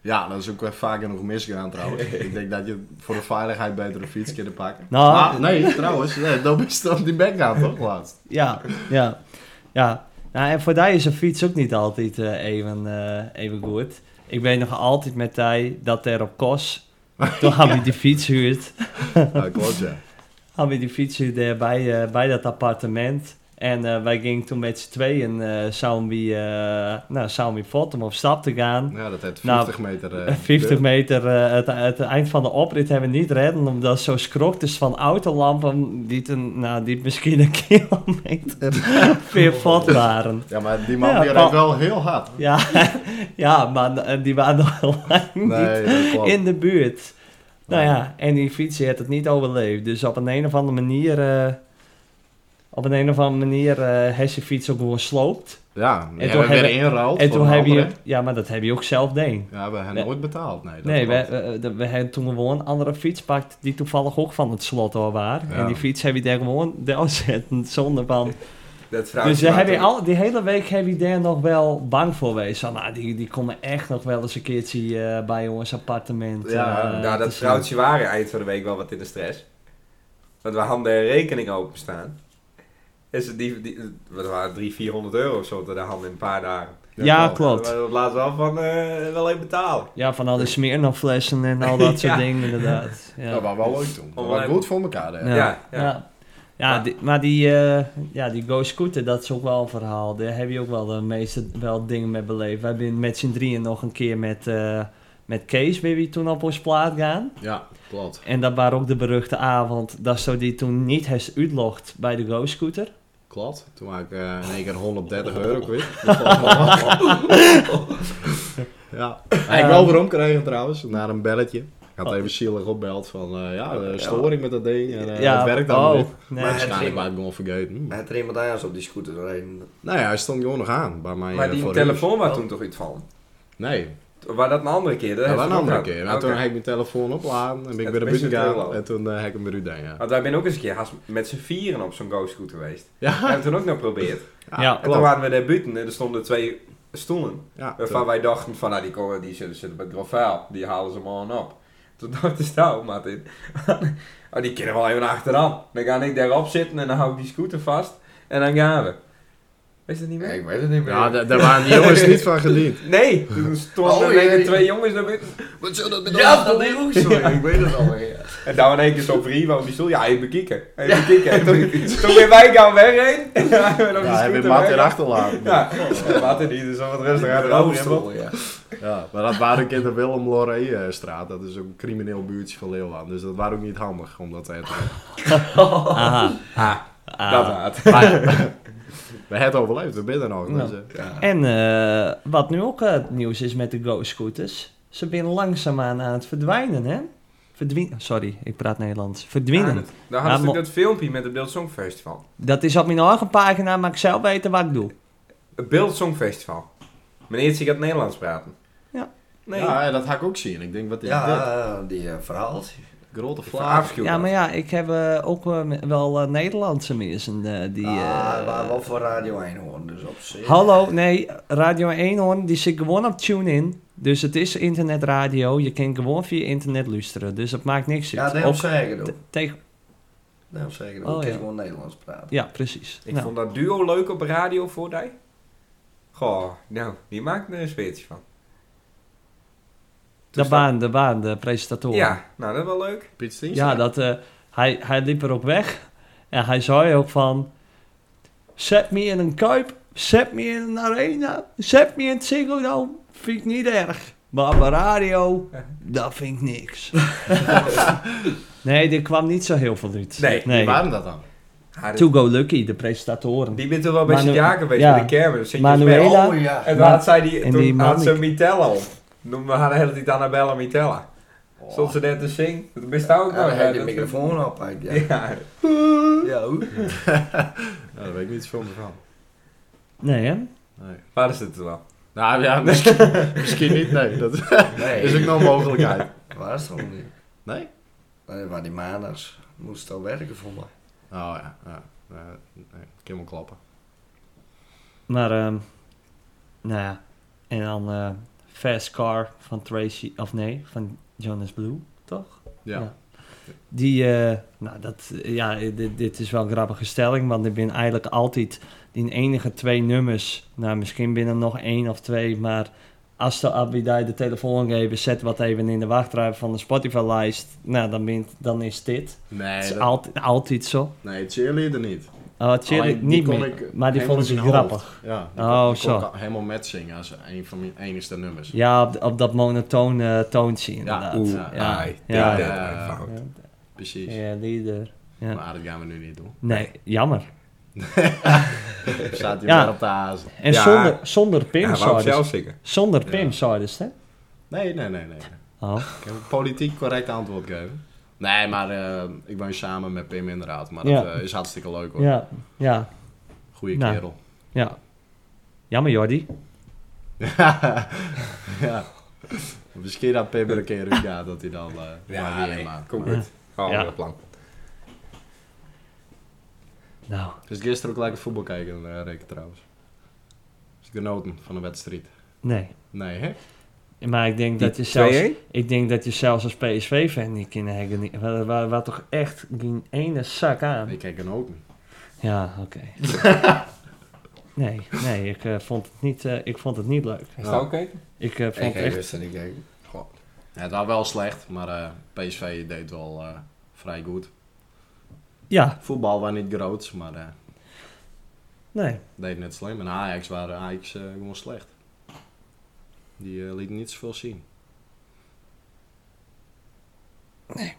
Ja, dat is ook wel vaak genoeg misgegaan trouwens. Ik denk dat je voor de veiligheid beter een fiets kunt pakken. Nou, Maar, nee, trouwens, nee, dan is het op die bek aan toch laatst. Ja, ja, ja. Nou, en voor die is een fiets ook niet altijd eh, even, eh, even goed. Ik weet nog altijd met die dat er op kos. Toen had ik die fiets huurd. Ja, klopt ja. Had ik die fiets huurd eh, bij, eh, bij dat appartement. En eh, wij gingen toen met z'n tweeën eh samen wie, eh nou, samen wie vod om op stap te gaan. Ja, dat heeft Nou, 50 meter... eh, 50 deur. meter, eh, het, het eind van de oprit hebben we niet redden, omdat zo schrok dus van autolampen die, ten, nou, die misschien een kilometer veel vod waren. Ja, maar die man Ja, die Paul- rijdt wel heel hard. Ja, ja maar eh, die waren nog lang Nee, dat niet klopt. in de buurt. Nou ja, en die fietsen had het niet overleefd. Dus op een, een of andere manier... eh, op een, een of andere manier eh heeft zijn fiets ook gewoon sloopt. Ja, en toen hebben we hebben- weer ingeruild. en voor toen een heb je, andere. ja, maar dat heb je ook zelf deed. Ja, we hebben Nee. nooit betaald. Nee, dat Nee, we, klopt. eh, eh, we hebben toen gewoon een andere fiets pakt die toevallig ook van het slot al waren. Ja. En die fiets heb je daar gewoon doorzetten zonder van. Dat Dus vrouwtje daar heb maakt je al, die hele week heb je daar nog wel bang voor geweest. Van, nou, die, die komen echt nog wel eens een keertje eh, bij ons appartement. Ja, eh, Nou, te dat zien. vrouwtje waren eind van de week wel wat in de stress. Want we hadden een rekening openstaan. En ze die, die, wat waren 300, 400 euro of zo te de hand in een paar dagen. Ja, wel. klopt. We hadden laatst wel van, eh, wel even betalen. Ja, van al die smeernaflessen en al dat soort Ja. dingen inderdaad. Ja, Dat was wel leuk toen. Dat was Online. goed voor elkaar. Hè. Ja. Ja, ja. Ja. Ja, die- maar die, eh, ja, die Go Scooter, dat is ook wel een verhaal. Daar heb je ook wel de meeste wel dingen mee beleefd. Wij zijn met z'n drieën nog een keer met, eh, met Kees ben je toen op ons plaat gaan. Ja, klopt. En dat was ook de beruchte avond dat zo die toen niet heeft uitlogd bij de Go Scooter. Klopt. Toen had ik eh, in één keer 130 euro kwijt. ja. Ja, ik wel weer omkregen trouwens, naar een belletje. Ik had even zielig opbeld van, eh, Oh. ja, de storing met dat ding. En, eh, dat werkt allemaal niet. nee. Maar- Waarschijnlijk was ik gewoon vergeten. Hm. Had er iemand anders op die scooter doorheen? Nee, hij stond gewoon nog aan bij mij. Maar eh, die voor telefoon was toen toch iets van? huis. Nee, Waar dat een andere keer? dat was heeft een het ook andere gehad. keer. Maar Oké. toen heb ik mijn telefoon opladen en ben ik Het weer naar is buiten een gegaan. trailer. En toen eh, heb ik hem weer uitgegaan, ja. Want wij zijn ook eens een keer haast met z'n vieren op zo'n ghost scooter geweest. We Ja, hebben toen ook nog geprobeerd. Ja, En toen waren we daar buiten en er stonden twee stoelen. ja. Waarvan wij dachten van, nou die komen, die zullen zitten bij Grovaal. Die halen ze maar op. Toen dacht ik, nou Martin, oh, die kunnen wel even achteraan. Dan ga ik daarop zitten en dan hou ik die scooter vast. En dan gaan we. Weet je dat niet meer? ik weet het niet Ja, daar daar waren die jongens niet van gediend. Nee, toen stonden Oh, er in één keer jee. twee jongens naar binnen. Wat zou dat met Ja, ja, dat dat is ook zo. Ik weet het al. En daar in één keer zo vrieven op die stoel. Ja, even bekijken. Even bekijken. En toen, toen ben wij gaan wegheen. En dan hebben we op die Ja, heb je Maarten scooter weggaan. erachter laten. Ja, Martin niet, dus wat rustig aan de Rooster, Oh, ja. Ja, maar dat waren ook in de Willem Loré straat. Dat is ook een crimineel buurtje van Leeuwarden. Dus dat waren ook niet handig om dat te eten. Aha. Ah, Ah. dat haat. We het overleefd, we binnen nog. Dus, eh, En eh, wat nu ook eh, het nieuws is met de Go Scooters. Ze zijn langzaamaan aan het verdwijnen, hè? Verdwien... Sorry, ik praat Nederlands. Ah. Verdwijnen. Dan hadden ze maar- ook dat filmpje met het Beeld Songfestival. Dat is op mijn eigen pagina, maar ik zelf weten wat ik doe. Het Beeld Songfestival. Meneer zie ik het Nederlands praten. Ja. Nee. Ja, ja, dat ga ik ook zien. Ik denk, wat is dit? Ja, die eh, verhaalt. Grote vlaag. Verafschuwd. ja, maar ja, ik heb eh, ook eh, me- wel eh, Nederlandse mensen eh, die... Ja, eh, maar wel voor Radio 1 horen, dus op zich. Hallo, nee, Radio 1 hoorn, die zit gewoon op TuneIn. Dus het is internetradio, je kan gewoon via internet luisteren. Dus dat maakt niks Ja, uit. daarom Ook zeker doen. te- tegen- Daarom zeker Oh, doen. Het is ja. gewoon Nederlands praten. ja, precies. Ik Nou, vond dat duo leuk op radio voor die. Goh, nou, die maakt er een speeltje van. de, baan, de baan, de presentator. Dus Ja, nou dat is wel leuk. Piet Stiens? Ja, dat, eh, hij, hij liep erop weg. En hij zei ook van... Zet me in een kuip. Zet me in een arena. Zet me in het Ziggo Dome. Vind ik niet erg. Maar bij radio, dat vind ik niks. nee, er kwam niet zo heel veel uit. Nee, Wie waren dat dan? Ah, dit- To Go Lucky, de presentatoren. Die bent toch wel bij Manu- zijn jaken geweest, ja. bij de kermis. Zit je Manuela. met- Oh ja. En toen Maar- had zij die, en toen die had ze Mannik. Mitella om. Noemde haar de hele tijd Annabella Mitella. Stond ze net te zingen. Dat bestaat ook Ja, dan nog. heb je de hè, dat- microfoon op. hè. Ja. Ja, Ja, hoe? Ja, daar weet ik niet zoveel meer van. Nee, hè? Nee. waar is het wel? Nou ja, misschien, misschien niet. Nee, dat Nee, is ook nog een mogelijkheid. waar is het nog niet? Nee? Nee, maar die maandags moest het al werken voor mij. Oh ja, ja. Eh, nee, ik kan wel klappen. Maar, ehm, nou ja. En dan eh, Fast Car van Tracy... Of nee, van Jonas Blue, toch? Ja. Ja. Die, eh, nou dat, ja, dit, dit is wel een grappige stelling, want ik ben eigenlijk altijd die enige twee nummers. Nou, misschien binnen nog één of twee, maar als de abidai de telefoon geven, zet wat even in de wachtrij van de Spotify-lijst. Nou, dan, bent, dan is dit. Het Nee, is dat, altijd, altijd zo. nee, cheerleader niet. Oh, het Alleen, Jerry die niet kon meer, ik maar die helemaal vond in ik zijn hoofd. grappig. Ja, die Oh, kon, die kon zo. ik helemaal met zingen als een van mijn enigste nummers. Ja, op, op dat monotone toontje inderdaad. oeh, ja, ah, ja, ik ja, denk ja, dat. ja, Precies. lieder. Ja. Maar ah, dat gaan we nu niet doen. Nee, jammer. Staat hij Ja. weer op de hazen. En Ja. zonder, zonder Pim, Ja, wou zou ik dus- zelf zingen. Zonder Ja. Pim, zouden ze, hè? Nee, nee, nee, nee. Oh. Ik heb een politiek correct antwoord geven. Nee, maar eh, ik woon samen met Pim inderdaad. Maar Ja. dat eh, is hartstikke leuk hoor. Ja, ja, Goeie Nou. kerel. ja. Jammer Jordi. ja. Misschien dat Pim er een keer uit gaat dat hij dan... eh maar Ja, weer nee, maakt. kom goed. Gaan we Ja. weer plan. Nou, Dus gisteren ook lekker voetbal kijken, eh Rick trouwens. Dus ik genoten van de wedstrijd. nee. Nee, hè? Maar ik denk, dat je zelfs, ik denk dat je zelfs als PSV-fan niet kan hebben. niet- Waar, waar, waar toch echt geen ene zak aan. Ik kijk genoten. Ja, oké. nee, nee, ik, eh, vond het niet, eh, ik vond het niet leuk. Is dat oké? Ik eh, vond Ik het echt... wist het niet kijken. Ja, het was wel slecht, maar eh, PSV deed wel eh, vrij goed. Ja, Voetbal was niet groot, maar eh nee. deed net slim. En Ajax waren Ajax eh, gewoon slecht. Die eh, liet niet zoveel zien.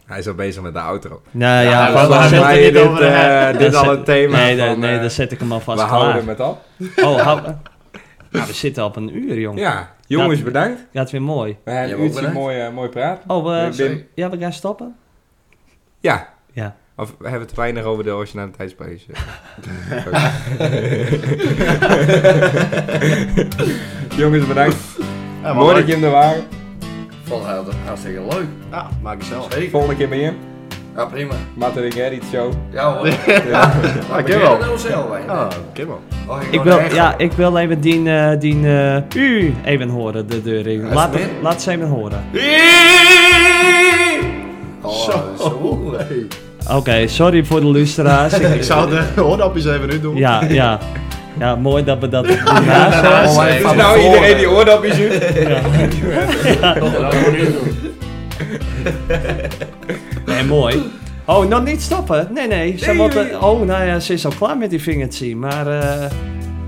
Hij is al bezig met de outro. Nou Ja, ja, dat is we zet waar er wij niet dit, over eh, Dat dit al zet- een thema Nee, nee, van, nee, eh, dan zet ik hem We alvast klaar. houden met op. Oh, hou... nou, we zitten op een uur, jongen. Ja, jongens bedankt. Dat is weer mooi. We hebben Ja, een uurtje bedankt. mooi, eh, mooi praten. Oh, we, Ik ben- ja, we gaan stoppen? Ja. Ja. Of we hebben het weinig over de originaliteitspace. jongens bedankt. Ja, Mooi dat je hem er waren. Vond hij altijd hartstikke leuk. Ja, maak het zelf. Zeker. Volgende keer meer. Ja, prima. Maarten en Gerrit show. Ja hoor. Ah, Ik Kimmel. wel zelf Ah, Kimmel. Oh, Ik wil, ja, ik wil even die, eh die eh u even horen, de deur in. is Laat, meer. laat ze even horen. Oh, zo. Oké, sorry voor de luisteraars. Ik- Ik zou de hoordopjes even nu doen. ja, ja. Ja, mooi dat we dat naast Oh, Is nou iedereen die oordopjes doet? Nee, mooi. Oh, nog niet stoppen? Nee, nee. Ze moeten- oh, nou ja, ze is al klaar met die vingertje, maar... eh,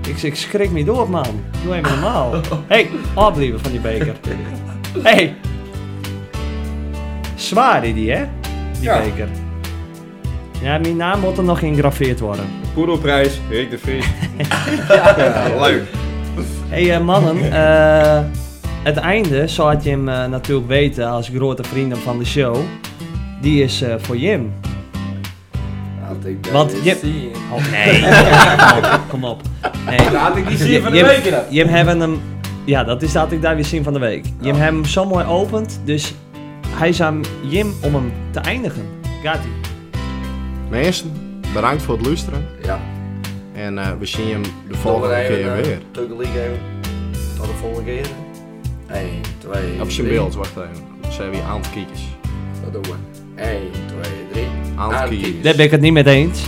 ik, ik schrik niet door, man. Doe even normaal. hey, afblijven van die beker. hey. Zwaar is die, hè? Die Ja. beker. Ja, mijn naam moet er nog ingraveerd worden. Poedelprijs, Rick de Vries. Ja, leuk. Hey eh, mannen, eh, het einde, zo had je hem eh, natuurlijk weten als grote vrienden van de show, die is eh, voor Jim. Had ik dat Want eens- Jim... Oh nee, kom op, kom op. Nee. Laat ik die zien van de Jim- week in dat. Jim hebben hem... Ja, dat is dat ik daar weer zien van de week. Jim hebben hem zo mooi opent, dus hij is aan Jim om hem te eindigen. Gaat ie. Mensen, bedankt voor het luisteren. Ja. En eh, we zien hem de volgende keer weer. Tuggelig even. Tot de volgende keer. 1, 2, Op zijn beeld, eh, wacht even. Dan zijn we hier aan het kijkers. Dat doen we. 1, 2, 3. Aan het kijkers. Daar ben ik het niet mee eens.